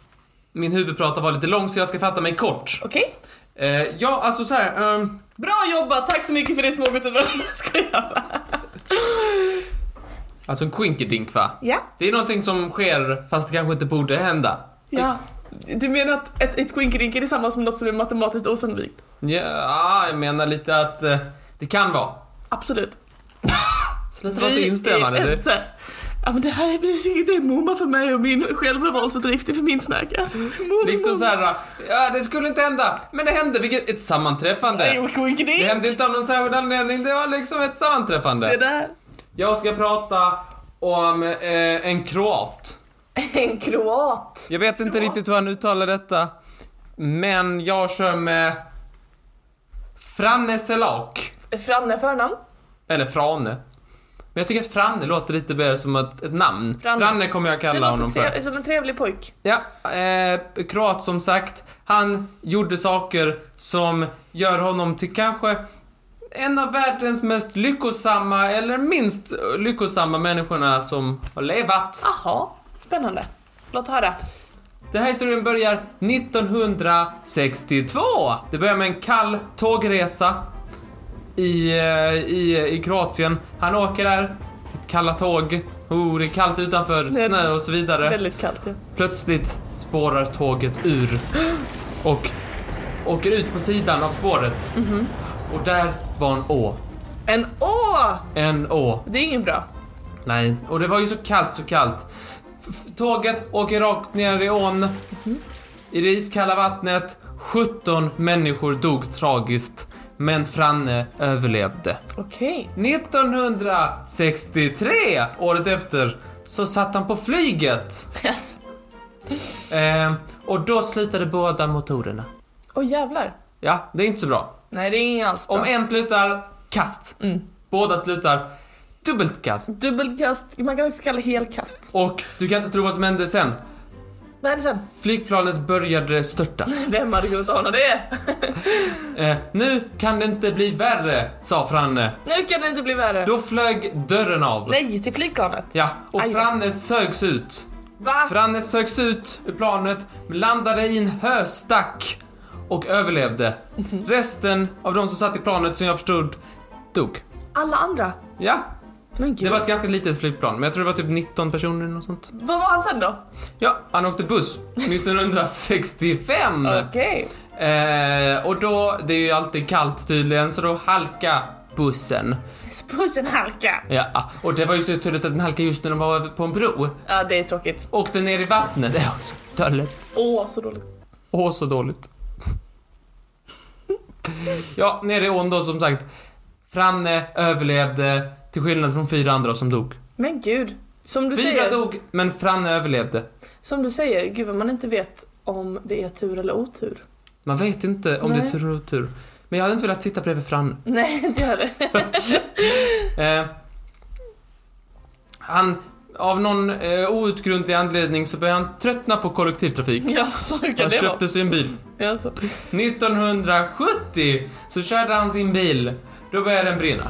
Speaker 2: min huvudprata var lite lång så jag ska fatta mig kort.
Speaker 1: Okej.
Speaker 2: Eh, ja, alltså så här. ehm,
Speaker 1: Bra jobbat, tack så mycket för det smågodiset. Jag skojar.
Speaker 2: Alltså en quinkydink va?
Speaker 1: Ja.
Speaker 2: Det är någonting som sker fast det kanske inte borde hända.
Speaker 1: Ja. Du menar att ett, ett quinkydink är detsamma som något som är matematiskt osannolikt?
Speaker 2: Ja, jag menar lite att eh, det kan vara.
Speaker 1: Absolut.
Speaker 2: Sluta vara så instämmande. Det-
Speaker 1: ense. Ja men det här blir säkert en mumma för mig och min självrevolterdrift är för min snack. Alltså, mumma,
Speaker 2: Liksom så här, ja det skulle inte hända, men det hände, vilket ett sammanträffande.
Speaker 1: mumma. Quinkydink.
Speaker 2: Det hände inte av någon särskild anledning, det var liksom ett
Speaker 1: Se
Speaker 2: sammanträffande.
Speaker 1: där.
Speaker 2: Jag ska prata om eh, en kroat.
Speaker 1: En kroat.
Speaker 2: Jag vet inte riktigt hur han uttalar detta, men jag kör med Franne Selak.
Speaker 1: Franne förnamn.
Speaker 2: Eller Frane. Men jag tycker att Franne låter lite mer som ett, ett namn.
Speaker 1: Franne.
Speaker 2: Franne. kommer jag
Speaker 1: Det
Speaker 2: kalla
Speaker 1: låter
Speaker 2: honom för.
Speaker 1: trev- som en trevlig pojk.
Speaker 2: Ja, eh, kroat som sagt. Han gjorde saker som gör honom till kanske en av världens mest lyckosamma, eller minst lyckosamma människorna som har levat.
Speaker 1: Aha. Spännande. Låt höra.
Speaker 2: Den här historien börjar 1962. Det börjar med en kall tågresa i, eh, i, i Kroatien. Han åker där, ett kalla tåg. Oh, det är kallt utanför,
Speaker 1: Nej.
Speaker 2: snö och så vidare.
Speaker 1: Väldigt kallt ja.
Speaker 2: Plötsligt spårar tåget ur och åker ut på sidan av spåret. Och där var en å.
Speaker 1: En å!
Speaker 2: En å.
Speaker 1: Det är ingen bra.
Speaker 2: Nej, och det var ju så kallt, så kallt. F- f- Tåget åker rakt ner i ån. I det iskalla vattnet. 17 människor dog tragiskt. Men Franne överlevde.
Speaker 1: Okej.
Speaker 2: 1963, året efter, så satt han på flyget.
Speaker 1: Yes.
Speaker 2: Eh, och då slutade båda motorerna.
Speaker 1: Åh jävlar.
Speaker 2: Ja, det är inte så bra.
Speaker 1: Nej det är ingen alls bra.
Speaker 2: Om en slutar, kast. Båda slutar, dubbelt kast.
Speaker 1: Dubbelkast, man kan också kalla det helkast.
Speaker 2: Och du kan inte tro vad som hände sen.
Speaker 1: Vad är det sen?
Speaker 2: Flygplanet började störta.
Speaker 1: Vem hade kunnat ana det?
Speaker 2: Eh, nu kan det inte bli värre, sa Franne.
Speaker 1: Nu kan det inte bli värre.
Speaker 2: Då flög dörren av.
Speaker 1: Nej, till flygplanet.
Speaker 2: Ja, och
Speaker 1: Aj. Ah.
Speaker 2: Franne sögs ut.
Speaker 1: Va?
Speaker 2: Franne sögs ut ur planet, landade i en höstack och överlevde.
Speaker 1: Mhm.
Speaker 2: Resten av de som satt i planet, som jag förstod, dog.
Speaker 1: Alla andra?
Speaker 2: Ja,
Speaker 1: Men gud.
Speaker 2: det var ett ganska litet flygplan, men jag tror det var typ 19 personer eller något sånt.
Speaker 1: Vad var han sen då?
Speaker 2: Ja, han åkte buss 1965.
Speaker 1: Okej.
Speaker 2: Eh, och då, det är ju alltid kallt tydligen, så då halka bussen.
Speaker 1: Pussen halka.
Speaker 2: Ja, och det var ju så tydligt att den halkade just när de var över på en bro.
Speaker 1: Ja, det är tråkigt.
Speaker 2: Åkte ner i vattnet. Åh, så dåligt.
Speaker 1: Åh, så dåligt.
Speaker 2: Åh, så dåligt. Ja, nere i ån då som sagt. Franne överlevde, till skillnad från fyra andra som dog.
Speaker 1: Men gud. Som du,
Speaker 2: Fyra
Speaker 1: säger,
Speaker 2: dog, men Franne överlevde.
Speaker 1: som du säger, gud vad man inte vet om det är tur eller otur.
Speaker 2: Man vet inte om det
Speaker 1: Nej.
Speaker 2: är tur eller otur. Men jag hade inte velat sitta bredvid Franne.
Speaker 1: Nej, inte jag det.
Speaker 2: Eh, han, av någon eh, outgrundlig anledning så började han tröttna på kollektivtrafik.
Speaker 1: Jaså, hur kan
Speaker 2: Han
Speaker 1: det vara?
Speaker 2: köpte sig en bil.
Speaker 1: Jaså.
Speaker 2: 1970 så körde han sin bil. Då började den brinna.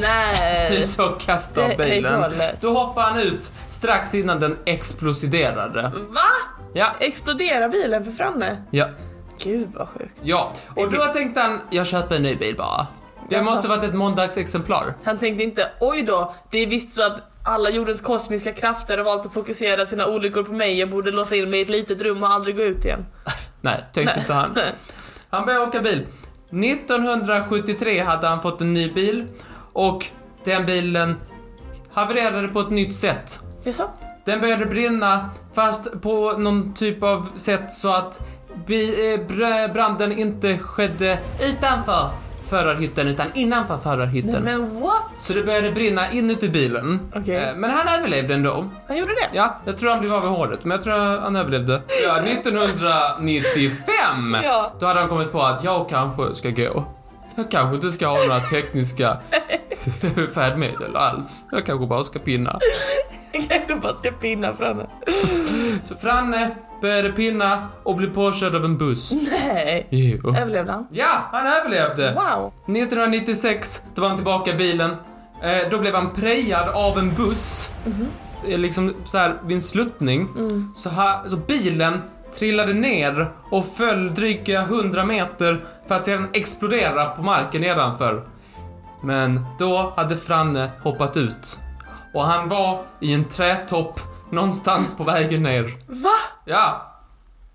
Speaker 1: Nej.
Speaker 2: Så kastade han
Speaker 1: Det är
Speaker 2: bilen.
Speaker 1: galet.
Speaker 2: Då hoppade han ut strax innan den exploderade.
Speaker 1: Va?
Speaker 2: Ja,
Speaker 1: Exploderar bilen för framme?
Speaker 2: ja,
Speaker 1: Gud vad sjukt.
Speaker 2: ja. Och då tänkte han, jag köper en ny bil bara. Det
Speaker 1: Jaså.
Speaker 2: måste varit ett måndagsexemplar.
Speaker 1: Han tänkte inte oj då, det är visst så att alla jordens kosmiska krafter har valt att fokusera sina olyckor på mig. Jag borde låsa in mig i ett litet rum och aldrig gå ut igen.
Speaker 2: Nej, tänkte inte han. Han började åka bil. 1973 hade han fått en ny bil och den bilen havererade på ett nytt sätt.
Speaker 1: Jaså?
Speaker 2: Den började brinna, fast på någon typ av sätt så att bi- eh, br- branden inte skedde utanför förarhytten utan innanför förarhytten.
Speaker 1: Men what?
Speaker 2: Så det började brinna inuti bilen.
Speaker 1: Okej.
Speaker 2: Eh, Men han överlevde ändå.
Speaker 1: Han gjorde det?
Speaker 2: Ja, jag tror han blev av med håret, men jag tror han överlevde. Ja, 1995!
Speaker 1: Ja.
Speaker 2: Då hade han kommit på att jag kanske ska gå. Jag kanske inte ska ha några tekniska färdmedel alls. Jag kanske bara ska pinna.
Speaker 1: Jag kanske bara ska pinna framme.
Speaker 2: Så Franne började pinna och blev påkörd av en buss.
Speaker 1: Nej.
Speaker 2: Jo.
Speaker 1: Överlevde han?
Speaker 2: Ja, han överlevde!
Speaker 1: Wow.
Speaker 2: 1996, då var han tillbaka i bilen. Eh, då blev han prejad av en buss. Eh, Liksom så här vid en sluttning. Så, här, så bilen trillade ner och föll dryga 100 meter för att sedan explodera på marken nedanför. Men då hade Franne hoppat ut. och han var i en trätopp någonstans på vägen ner.
Speaker 1: Va?
Speaker 2: Ja,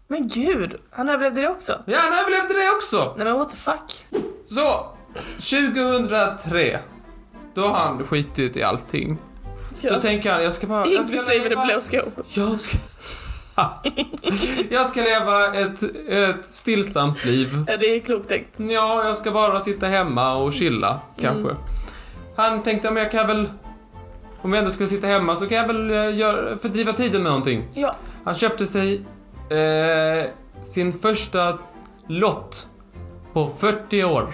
Speaker 1: Men gud, han överlevde det också?
Speaker 2: ja han överlevde det också.
Speaker 1: Nej men what the fuck?
Speaker 2: Så, 2003. Då har han skitit i allting. Då
Speaker 1: Ja.
Speaker 2: tänker han, jag ska bara... jag ska
Speaker 1: Inklusive the
Speaker 2: leva-
Speaker 1: blå skåpet.
Speaker 2: Jag ska... jag ska leva ett, ett stillsamt liv.
Speaker 1: Ja, det är klokt tänkt.
Speaker 2: Ja, jag ska bara sitta hemma och chilla, kanske.
Speaker 1: Mm.
Speaker 2: Han tänkte, men jag kan väl... Om jag ändå ska sitta hemma så kan jag väl eh, göra, fördriva tiden med någonting.
Speaker 1: Ja.
Speaker 2: Han köpte sig eh, sin första lott på 40 år.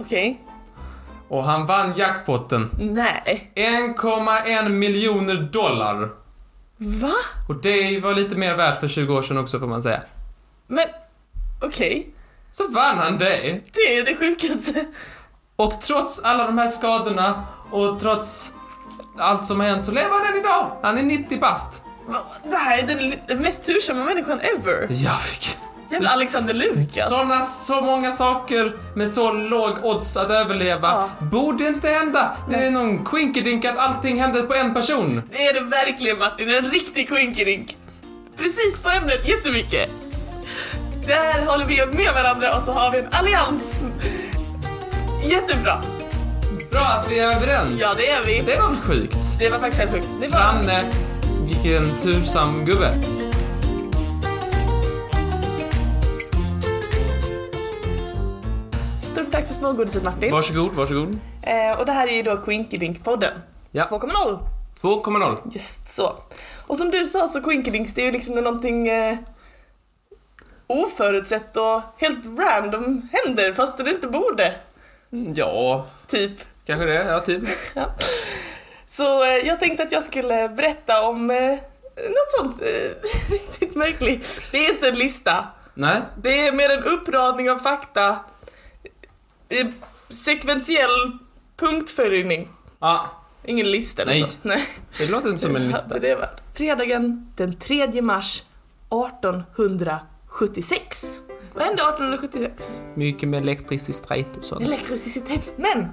Speaker 1: Okej.
Speaker 2: Och han vann jackpotten.
Speaker 1: Nej.
Speaker 2: 1,1 miljoner dollar.
Speaker 1: Va?
Speaker 2: Och det var lite mer värt för 20 år sedan också får man säga.
Speaker 1: Men okej.
Speaker 2: Så vann han det.
Speaker 1: Det är det sjukaste.
Speaker 2: Och trots alla de här skadorna och trots allt som har hänt så lever han än idag. Han är 90 bast.
Speaker 1: Va? Det här är den l- mest tursamma människan ever.
Speaker 2: Ja, fick.
Speaker 1: Jävla Alexander Lukas.
Speaker 2: Såna, så många saker med så låg odds att överleva
Speaker 1: Ja.
Speaker 2: borde inte hända. Det är någon quinkedink att allting hände på en person.
Speaker 1: Det är det verkligen Martin, en riktig quinkerink. Precis på ämnet jättemycket. Där håller vi med varandra och så har vi en allians. Jättebra.
Speaker 2: Bra att vi är överens.
Speaker 1: Ja, det är vi.
Speaker 2: det var väl sjukt?
Speaker 1: Det var faktiskt helt sjukt. Det var...
Speaker 2: Danne, vilken tursam gubbe.
Speaker 1: Stort tack för smågodiset Martin.
Speaker 2: Varsågod, varsågod.
Speaker 1: Eh, och det här är ju då Quinkelink-podden.
Speaker 2: Ja.
Speaker 1: 2.0.
Speaker 2: 2,0.
Speaker 1: Just så. Och som du sa så Quinkelinks det är ju liksom när någonting eh, oförutsett och helt random händer fast det inte borde.
Speaker 2: Ja,
Speaker 1: Typ.
Speaker 2: kanske det. Ja, typ.
Speaker 1: Ja. Så eh, jag tänkte att jag skulle berätta om eh, något sånt eh, riktigt märkligt. Det är inte en lista.
Speaker 2: Nej,
Speaker 1: Det är mer en uppradning av fakta. Eh, sekventiell punktföljning.
Speaker 2: Ja,
Speaker 1: Ingen lista eller
Speaker 2: Nej.
Speaker 1: så. Nej.
Speaker 2: det låter inte som en lista.
Speaker 1: Hade det varit. Fredagen den 3 mars 1876. Vad hände 1876?
Speaker 2: Mycket med elektricitet och sånt.
Speaker 1: Elektricitet. Men!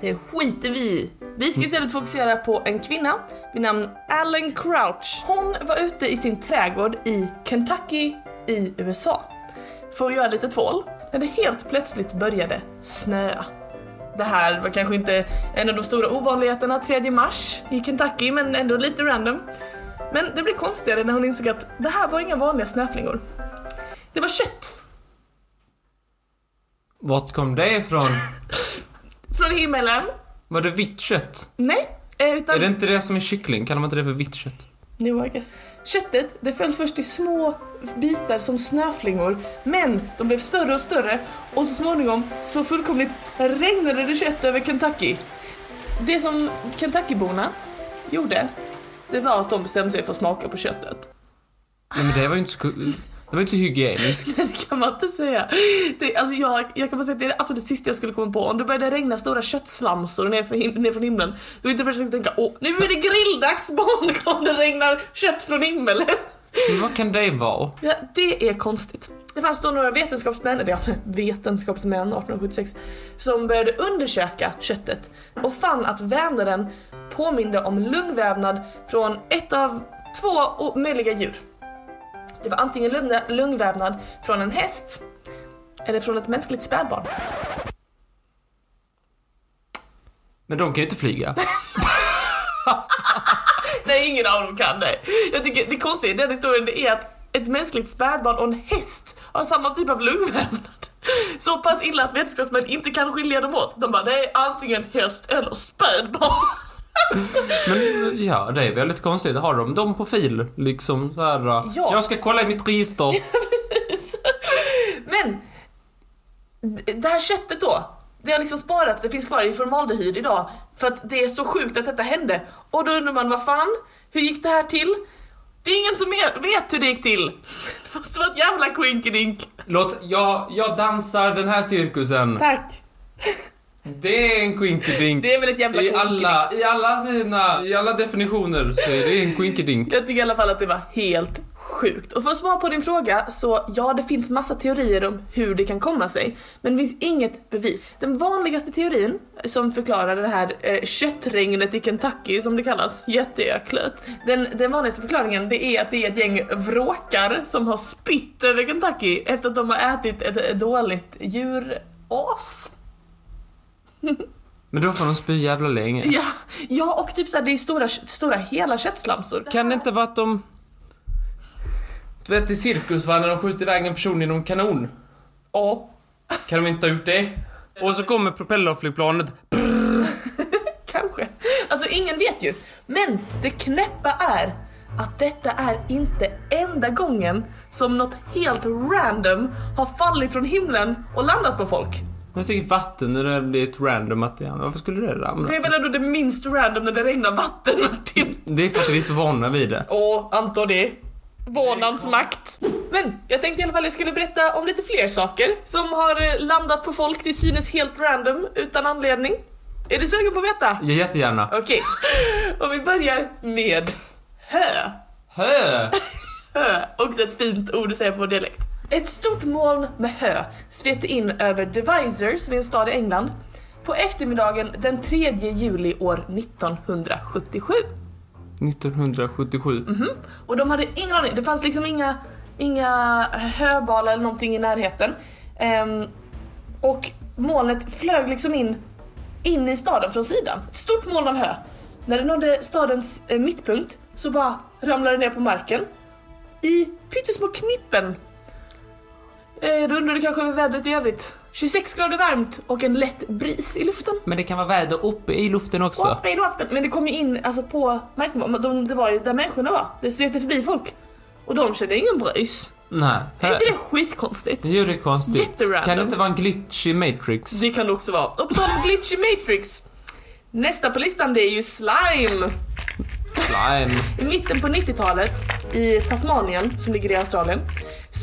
Speaker 1: Det skiter vi i. Vi
Speaker 2: Mm.
Speaker 1: ska istället fokusera på en kvinna vid namn Alan Crouch. Hon var ute i sin trädgård i Kentucky i USA för att göra lite tvål när det helt plötsligt började snöa. Det här var kanske inte en av de stora ovanligheterna 3 mars i Kentucky men ändå lite random. Men det blev konstigare när hon insåg att det här var inga vanliga snöflingor. Det var kött
Speaker 2: Vart kom det ifrån?
Speaker 1: från himmelen.
Speaker 2: Var det vitt kött?
Speaker 1: Nej, eh, utan...
Speaker 2: Är det inte det som är kyckling? Kallar man inte det för vitt kött?
Speaker 1: Jo, I guess. Köttet det föll först i små bitar som snöflingor, men de blev större och större och så småningom så fullkomligt regnade det kött över Kentucky. Det som Kentuckyborna gjorde, det var att de bestämde sig för att smaka på köttet.
Speaker 2: Nej men det var ju inte så, det var ju inte så hygieniskt.
Speaker 1: Det kan man inte säga. Det, alltså jag, jag kan bara säga att det är det absolut sista jag skulle komma på. Om det började regna stora köttslamsor ner från, him- ner från himlen, då är inte först jag skulle tänka åh, nu är det grilldags barn om det regnar kött från himlen.
Speaker 2: Men vad kan det vara?
Speaker 1: Ja, det är konstigt. Det fanns då några vetenskapsmän, eller ja, vetenskapsmän 1876, som började undersöka köttet och fann att vävnaden påminde om lungvävnad från ett av två o- möjliga djur. Det var antingen lungna- lungvävnad från en häst eller från ett mänskligt spädbarn.
Speaker 2: Men de kan ju inte flyga.
Speaker 1: Nej, ingen av dem kan det. Jag tycker det konstiga i den historien det är att ett mänskligt spädbarn och en häst har samma typ av lungvävnad. Så pass illa att vetenskapsmän inte kan skilja dem åt. De bara, det är antingen häst eller spädbarn.
Speaker 2: Men ja, det är väldigt konstigt. Har de dem på fil? Liksom så här. Ja.
Speaker 1: Ja.
Speaker 2: Jag ska kolla i mitt register.
Speaker 1: Men d- det här köttet då, det har liksom sparats, det finns kvar i formaldehyd idag för att det är så sjukt att detta hände. Och då undrar man vad fan, hur gick det här till? Det är ingen som mer vet hur det gick till. Det måste vara ett jävla quinkedink.
Speaker 2: Låt, jag, jag dansar den här cirkusen.
Speaker 1: Tack.
Speaker 2: Det är en quinkedink.
Speaker 1: Det är väl ett jävla
Speaker 2: I alla, I alla sina, i alla definitioner så är det en quinkedink.
Speaker 1: Jag tycker i alla fall att det var helt sjukt. Och för att svara på din fråga så ja, det finns massa teorier om hur det kan komma sig. Men det finns inget bevis. Den vanligaste teorin som förklarar det här eh, köttregnet i Kentucky som det kallas, jätteöklet. Den, den vanligaste förklaringen det är att det är ett gäng vråkar som har spytt över Kentucky efter att de har ätit ett dåligt djuras.
Speaker 2: Men då får de spy jävla länge.
Speaker 1: Ja, ja och typ såhär, det är stora, stora hela köttslamsor.
Speaker 2: Kan det inte vara att de... Du vet i cirkus va, när de skjuter iväg en person genom en kanon? Ja. Kan de inte ha gjort det? Och så kommer propellerflygplanet.
Speaker 1: Kanske. Alltså ingen vet ju. Men det knäppa är att detta är inte enda gången som något helt random har fallit från himlen och landat på folk.
Speaker 2: Men jag tycker vatten, när det blir ett random att det Varför skulle det ramla?
Speaker 1: Det är väl ändå det minst random när det regnar vatten Martin?
Speaker 2: Det är för att vi är så vana vid det.
Speaker 1: Åh, antar det. Vånans makt. Men jag tänkte i alla fall jag skulle berätta om lite fler saker som har eh, landat på folk till synes helt random utan anledning. Är du sugen på att veta?
Speaker 2: Ja, jättegärna.
Speaker 1: Okej, om vi börjar med hö.
Speaker 2: Hö!
Speaker 1: Hö, också ett fint ord att säga på vår dialekt. Ett stort moln med hö svepte in över Devizes som är en stad i England, på eftermiddagen den 3 juli år 1977.
Speaker 2: 1977.
Speaker 1: Mhm. Och de hade ingen aning, det fanns liksom inga, inga höbalar eller någonting i närheten. Ehm, och molnet flög liksom in, in i staden från sidan. Ett stort moln av hö. När det nådde stadens eh, mittpunkt så bara ramlade det ner på marken. I pyttesmå knippen. Eh, då undrar du kanske över vädret i övrigt. 26 grader varmt och en lätt bris i luften.
Speaker 2: Men det kan vara väder uppe i luften också.
Speaker 1: Uppe i luften. Men det kom ju in alltså, på marknivå, Men de, det var ju där människorna var. Det svepte förbi folk. Och de kände ingen bröjs.
Speaker 2: Nej.
Speaker 1: Är
Speaker 2: Hö.
Speaker 1: inte det skitkonstigt?
Speaker 2: Det är ju konstigt.
Speaker 1: Jätterandom.
Speaker 2: Kan det inte vara en glitch i Matrix?
Speaker 1: Det kan det också vara. Och på tal om glitch i Matrix. Nästa på listan det är ju slime.
Speaker 2: Slime.
Speaker 1: I mitten på 90-talet i Tasmanien, som ligger i Australien,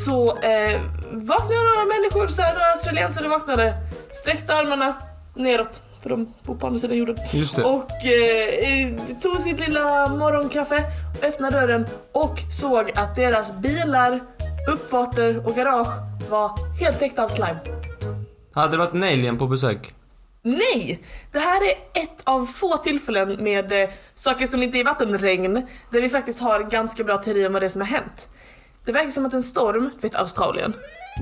Speaker 1: så eh, vaknade några människor, så här, några australiensare vaknade, sträckte armarna neråt, för de bor på andra sidan jorden.
Speaker 2: Just det.
Speaker 1: Och eh, eh, tog sitt lilla morgonkaffe, öppnade dörren och såg att deras bilar, uppfarter och garage var helt täckta av slime.
Speaker 2: Hade det varit en alien på besök?
Speaker 1: Nej! Det här är ett av få tillfällen med eh, saker som inte är vattenregn där vi faktiskt har en ganska bra teori om vad det är som har hänt. Det verkar som att en storm, du vet Australien,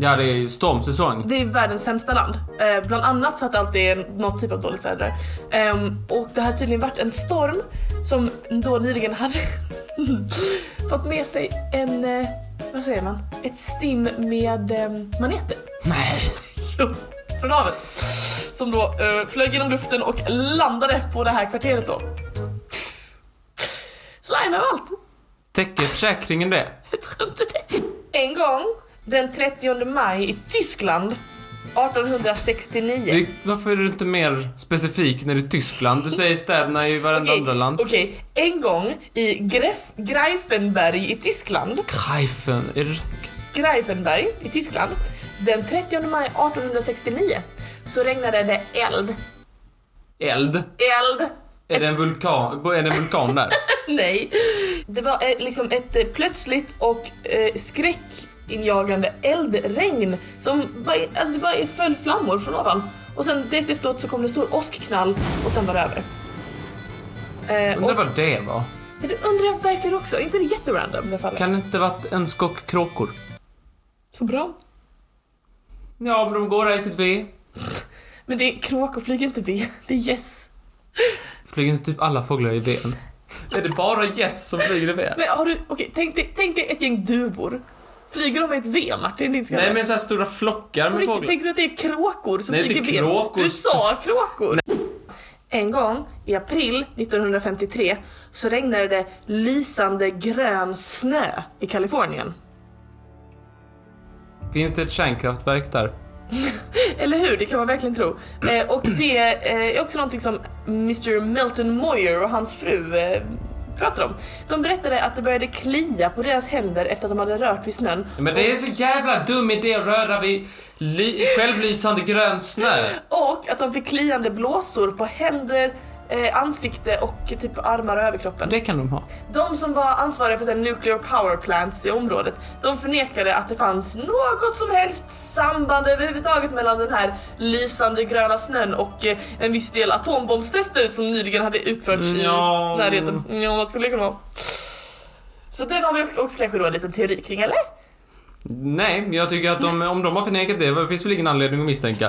Speaker 2: Ja, det är ju stormsäsong.
Speaker 1: det är världens sämsta land. Eh, bland annat för att det alltid är något typ av dåligt väder där. Ehm, Och det har tydligen varit en storm som då nyligen hade fått med sig en, eh, vad säger man, ett stim med ehm, maneter.
Speaker 2: Nej.
Speaker 1: Jo, från havet. Som då eh, flög genom luften och landade på det här kvarteret då. Slime överallt.
Speaker 2: Täcker försäkringen det?
Speaker 1: Jag tror inte det. En gång den 30 maj i Tyskland 1869.
Speaker 2: Det, varför är du inte mer specifik när det är Tyskland? Du säger städerna i varenda
Speaker 1: Okej,
Speaker 2: andra land.
Speaker 1: Okej, en gång i Gref, Greifenberg i Tyskland.
Speaker 2: Greifen, är det...
Speaker 1: Greifenberg i Tyskland. Den 30 maj 1869 så regnade det eld.
Speaker 2: Eld?
Speaker 1: Eld
Speaker 2: Är det en vulkan? Är det en vulkan där?
Speaker 1: Nej. Det var eh, liksom ett eh, plötsligt och eh, skräckinjagande eldregn som bara, alltså det bara föll flammor från ovan. Och sen direkt efteråt så kom det en stor åskknall och sen var det över. Eh, och,
Speaker 2: Undrar vad det var?
Speaker 1: men det undrar jag verkligen också, är inte det jätterandom i alla fall?
Speaker 2: Kan det inte varit en skock kråkor?
Speaker 1: Så bra.
Speaker 2: Ja, men de går där i sitt V.
Speaker 1: Men det är kråkor flyger inte vi, det är gäss.
Speaker 2: Flyger inte typ alla fåglar i V'n? Är det bara gäss som flyger i V?
Speaker 1: Men har du, okej tänk, dig, tänk dig ett gäng duvor. Flyger de i ett V Martin? Din
Speaker 2: Nej, men så här stora flockar med fåglar.
Speaker 1: Tänker du att det är kråkor som
Speaker 2: Nej, det är
Speaker 1: flyger ben?
Speaker 2: kråkor.
Speaker 1: Du sa kråkor! En gång i april 1953 så regnade det lysande grön snö i Kalifornien.
Speaker 2: Finns det ett kärnkraftverk där?
Speaker 1: Eller hur? Det kan man verkligen tro. Eh, och det eh, är också någonting som Mr Melton Moyer och hans fru eh, pratar om. De berättade att det började klia på deras händer efter att de hade rört vid snön.
Speaker 2: Men det är så jävla dum idé att röra vid ly- självlysande grön snö.
Speaker 1: Och att de fick kliande blåsor på händer, eh, ansikte och typ armar och överkroppen.
Speaker 2: Det kan de ha.
Speaker 1: De som var ansvariga för så här, nuclear power plants i området, de förnekade att det fanns något som helst samband överhuvudtaget mellan den här lysande gröna snön och eh, en viss del atombombstester som nyligen hade utförts
Speaker 2: Nja.
Speaker 1: i närheten. Ja, vad skulle det kunna vara? Så den har vi också kanske då en liten teori kring, eller?
Speaker 2: Nej, men jag tycker att de, om de har förnekat det, vad- finns väl ingen anledning att misstänka.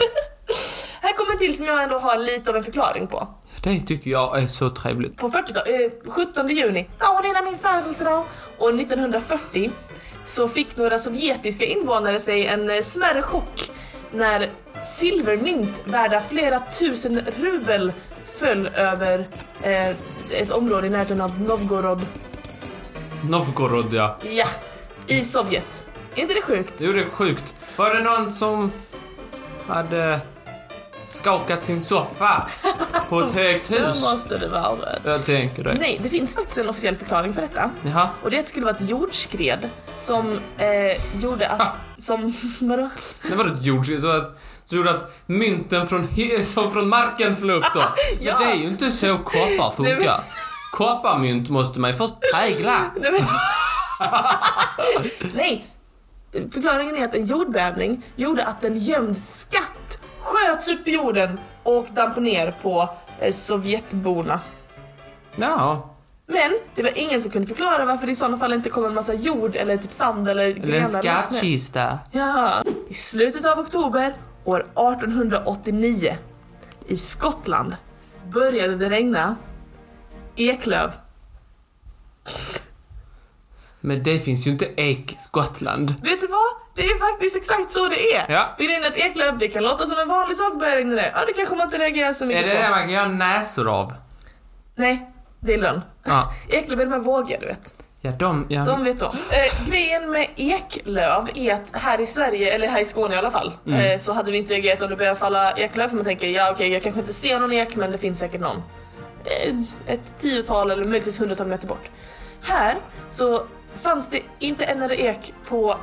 Speaker 1: Här kommer en till som jag ändå har lite av en förklaring på.
Speaker 2: Det tycker jag är så trevligt.
Speaker 1: På 40 eh, 17 juni, ja det är min födelsedag. Och 1940 så fick några sovjetiska invånare sig en eh, smärre chock när silvermynt värda flera tusen rubel föll över eh, ett område i närheten av Novgorod,
Speaker 2: Novgorod, ja.
Speaker 1: ja, i Sovjet. Är inte det sjukt?
Speaker 2: Jo, det är sjukt. Var det någon som hade skakat sin soffa på ett högt
Speaker 1: Det
Speaker 2: hus?
Speaker 1: måste det vara.
Speaker 2: Jag tänker det.
Speaker 1: Nej, det finns faktiskt en officiell förklaring för detta.
Speaker 2: Jaha.
Speaker 1: Och det skulle vara ett jordskred som eh, gjorde att... Som... Vadå?
Speaker 2: Det var ett jordskred så att så gjorde att mynten från, he- som från marken flög upp då. Men
Speaker 1: Ja.
Speaker 2: det är ju inte så koppar
Speaker 1: Nej, men-
Speaker 2: funkar. Kopparmynt måste man ju först prägla.
Speaker 1: Nej, men... Nej! Förklaringen är att en jordbävning gjorde att en gömd skatt sköts upp i jorden och damp ner på eh, Sovjetborna.
Speaker 2: Ja,
Speaker 1: Men det var ingen som kunde förklara varför det i sådana fall inte kom en massa jord eller typ sand eller grenar.
Speaker 2: eller en
Speaker 1: rakt ner.
Speaker 2: skattkista.
Speaker 1: Ja. I slutet av oktober år 1889 i Skottland började det regna eklöv.
Speaker 2: Men det finns ju inte ek i Skottland.
Speaker 1: Vet du vad? Det är faktiskt exakt så det är.
Speaker 2: Ja.
Speaker 1: Vi rinner ett eklöv, det kan låta som en vanlig sak börjar rinna det. Ja, det kanske man inte reagerar så
Speaker 2: Är
Speaker 1: mycket
Speaker 2: det det
Speaker 1: på.
Speaker 2: man kan göra näsor av?
Speaker 1: Nej, det är lögn.
Speaker 2: Ja,
Speaker 1: Eklöv är de här vågiga, du vet.
Speaker 2: ja de... Ja.
Speaker 1: De vet om. Eh, grejen med eklöv är att här i Sverige, eller här i Skåne i alla fall, eh, så hade vi inte reagerat om det började falla eklöv för man tänker ja okej jag kanske inte ser någon ek men det finns säkert någon. Eh, ett tiotal eller möjligtvis hundratal meter bort. Här så fanns det inte en enda ek på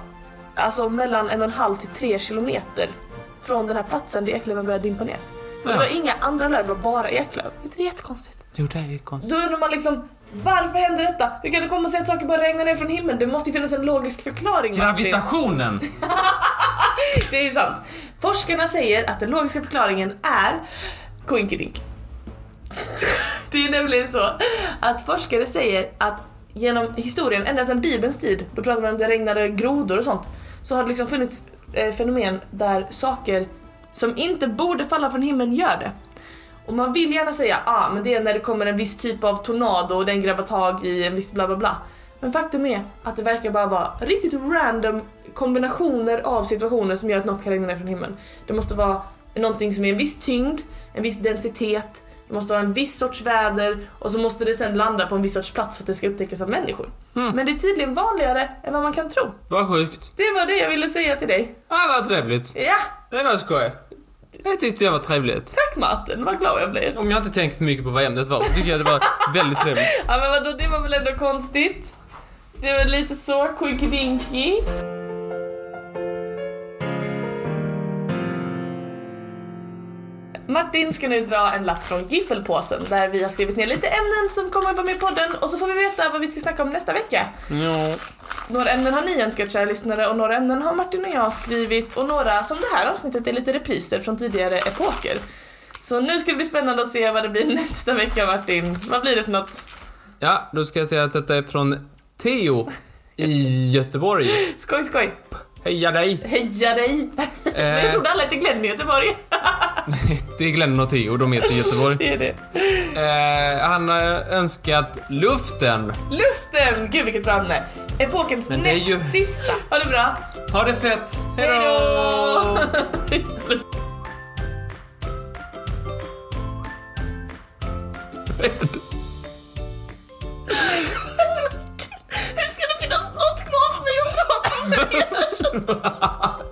Speaker 1: alltså mellan en och en halv till tre kilometer från den här platsen där eklöven började dimpa ner. Och Det
Speaker 2: Ja.
Speaker 1: var inga andra löv, det var bara eklöv. Är inte det jättekonstigt?
Speaker 2: Jo, det är ju konstigt.
Speaker 1: Då undrar man liksom varför händer detta? Hur kan det komma sig att saker bara regnar ner från himlen? Det måste ju finnas en logisk förklaring Martin.
Speaker 2: Gravitationen!
Speaker 1: Det är sant. Forskarna säger att den logiska förklaringen är koinkedink. Det är nämligen så att forskare säger att genom historien, ända sedan bibelns tid, då pratar man om det regnade grodor och sånt, så har det liksom funnits eh, fenomen där saker som inte borde falla från himlen gör det. Och man vill gärna säga ah, men det är när det kommer en viss typ av tornado och den grabbar tag i en viss bla bla bla. Men faktum är att det verkar bara vara riktigt random kombinationer av situationer som gör att något kan regna ner från himlen. Det måste vara någonting som är en viss tyngd, en viss densitet, det måste vara en viss sorts väder och så måste det sen landa på en viss sorts plats för att det ska upptäckas av människor. Men det är tydligen vanligare än vad man kan tro.
Speaker 2: Vad sjukt.
Speaker 1: Det var det jag ville säga till dig.
Speaker 2: Ja, vad trevligt.
Speaker 1: Ja,
Speaker 2: Det var skoj. Det tyckte jag var trevligt.
Speaker 1: tack Martin, vad glad jag blir.
Speaker 2: Om jag inte tänkt för mycket på vad ämnet var så tycker jag det var väldigt trevligt.
Speaker 1: Ja men vadå, det var väl ändå konstigt? Det var lite så, quickie Martin ska nu dra en lapp från giffelpåsen där vi har skrivit ner lite ämnen som kommer vara med i podden och så får vi veta vad vi ska snacka om nästa vecka.
Speaker 2: Ja.
Speaker 1: Några ämnen har ni önskat kära lyssnare och några ämnen har Martin och jag skrivit och några som det här avsnittet är lite repriser från tidigare epoker. Så nu ska det bli spännande att se vad det blir nästa vecka Martin. Vad blir det för något?
Speaker 2: ja, då ska jag säga att detta är från Theo i Göteborg.
Speaker 1: Skoj skoj!
Speaker 2: Heja dig!
Speaker 1: Heja dig! Men jag
Speaker 2: Eh,
Speaker 1: trodde alla hette Glenn i Göteborg.
Speaker 2: det är Glenn och Theo, de heter i Göteborg.
Speaker 1: Det är det.
Speaker 2: Eh, han har önskat luften.
Speaker 1: Luften! Gud vilket bra ämne. Epokens
Speaker 2: Men det är
Speaker 1: näst
Speaker 2: ju-
Speaker 1: sista. Ha det bra.
Speaker 2: Ha det fett!
Speaker 1: Hej då! Hur ska det finnas något kvar för mig att prata om?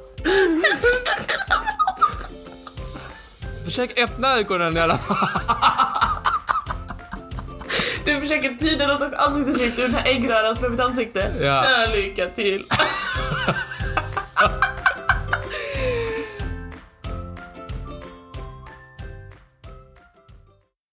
Speaker 2: Försök öppna ögonen i alla fall.
Speaker 1: Du försöker tyda någon slags ansiktsuttryck ur den här äggröran som är mitt ansikte.
Speaker 2: Ja.
Speaker 1: Lycka till.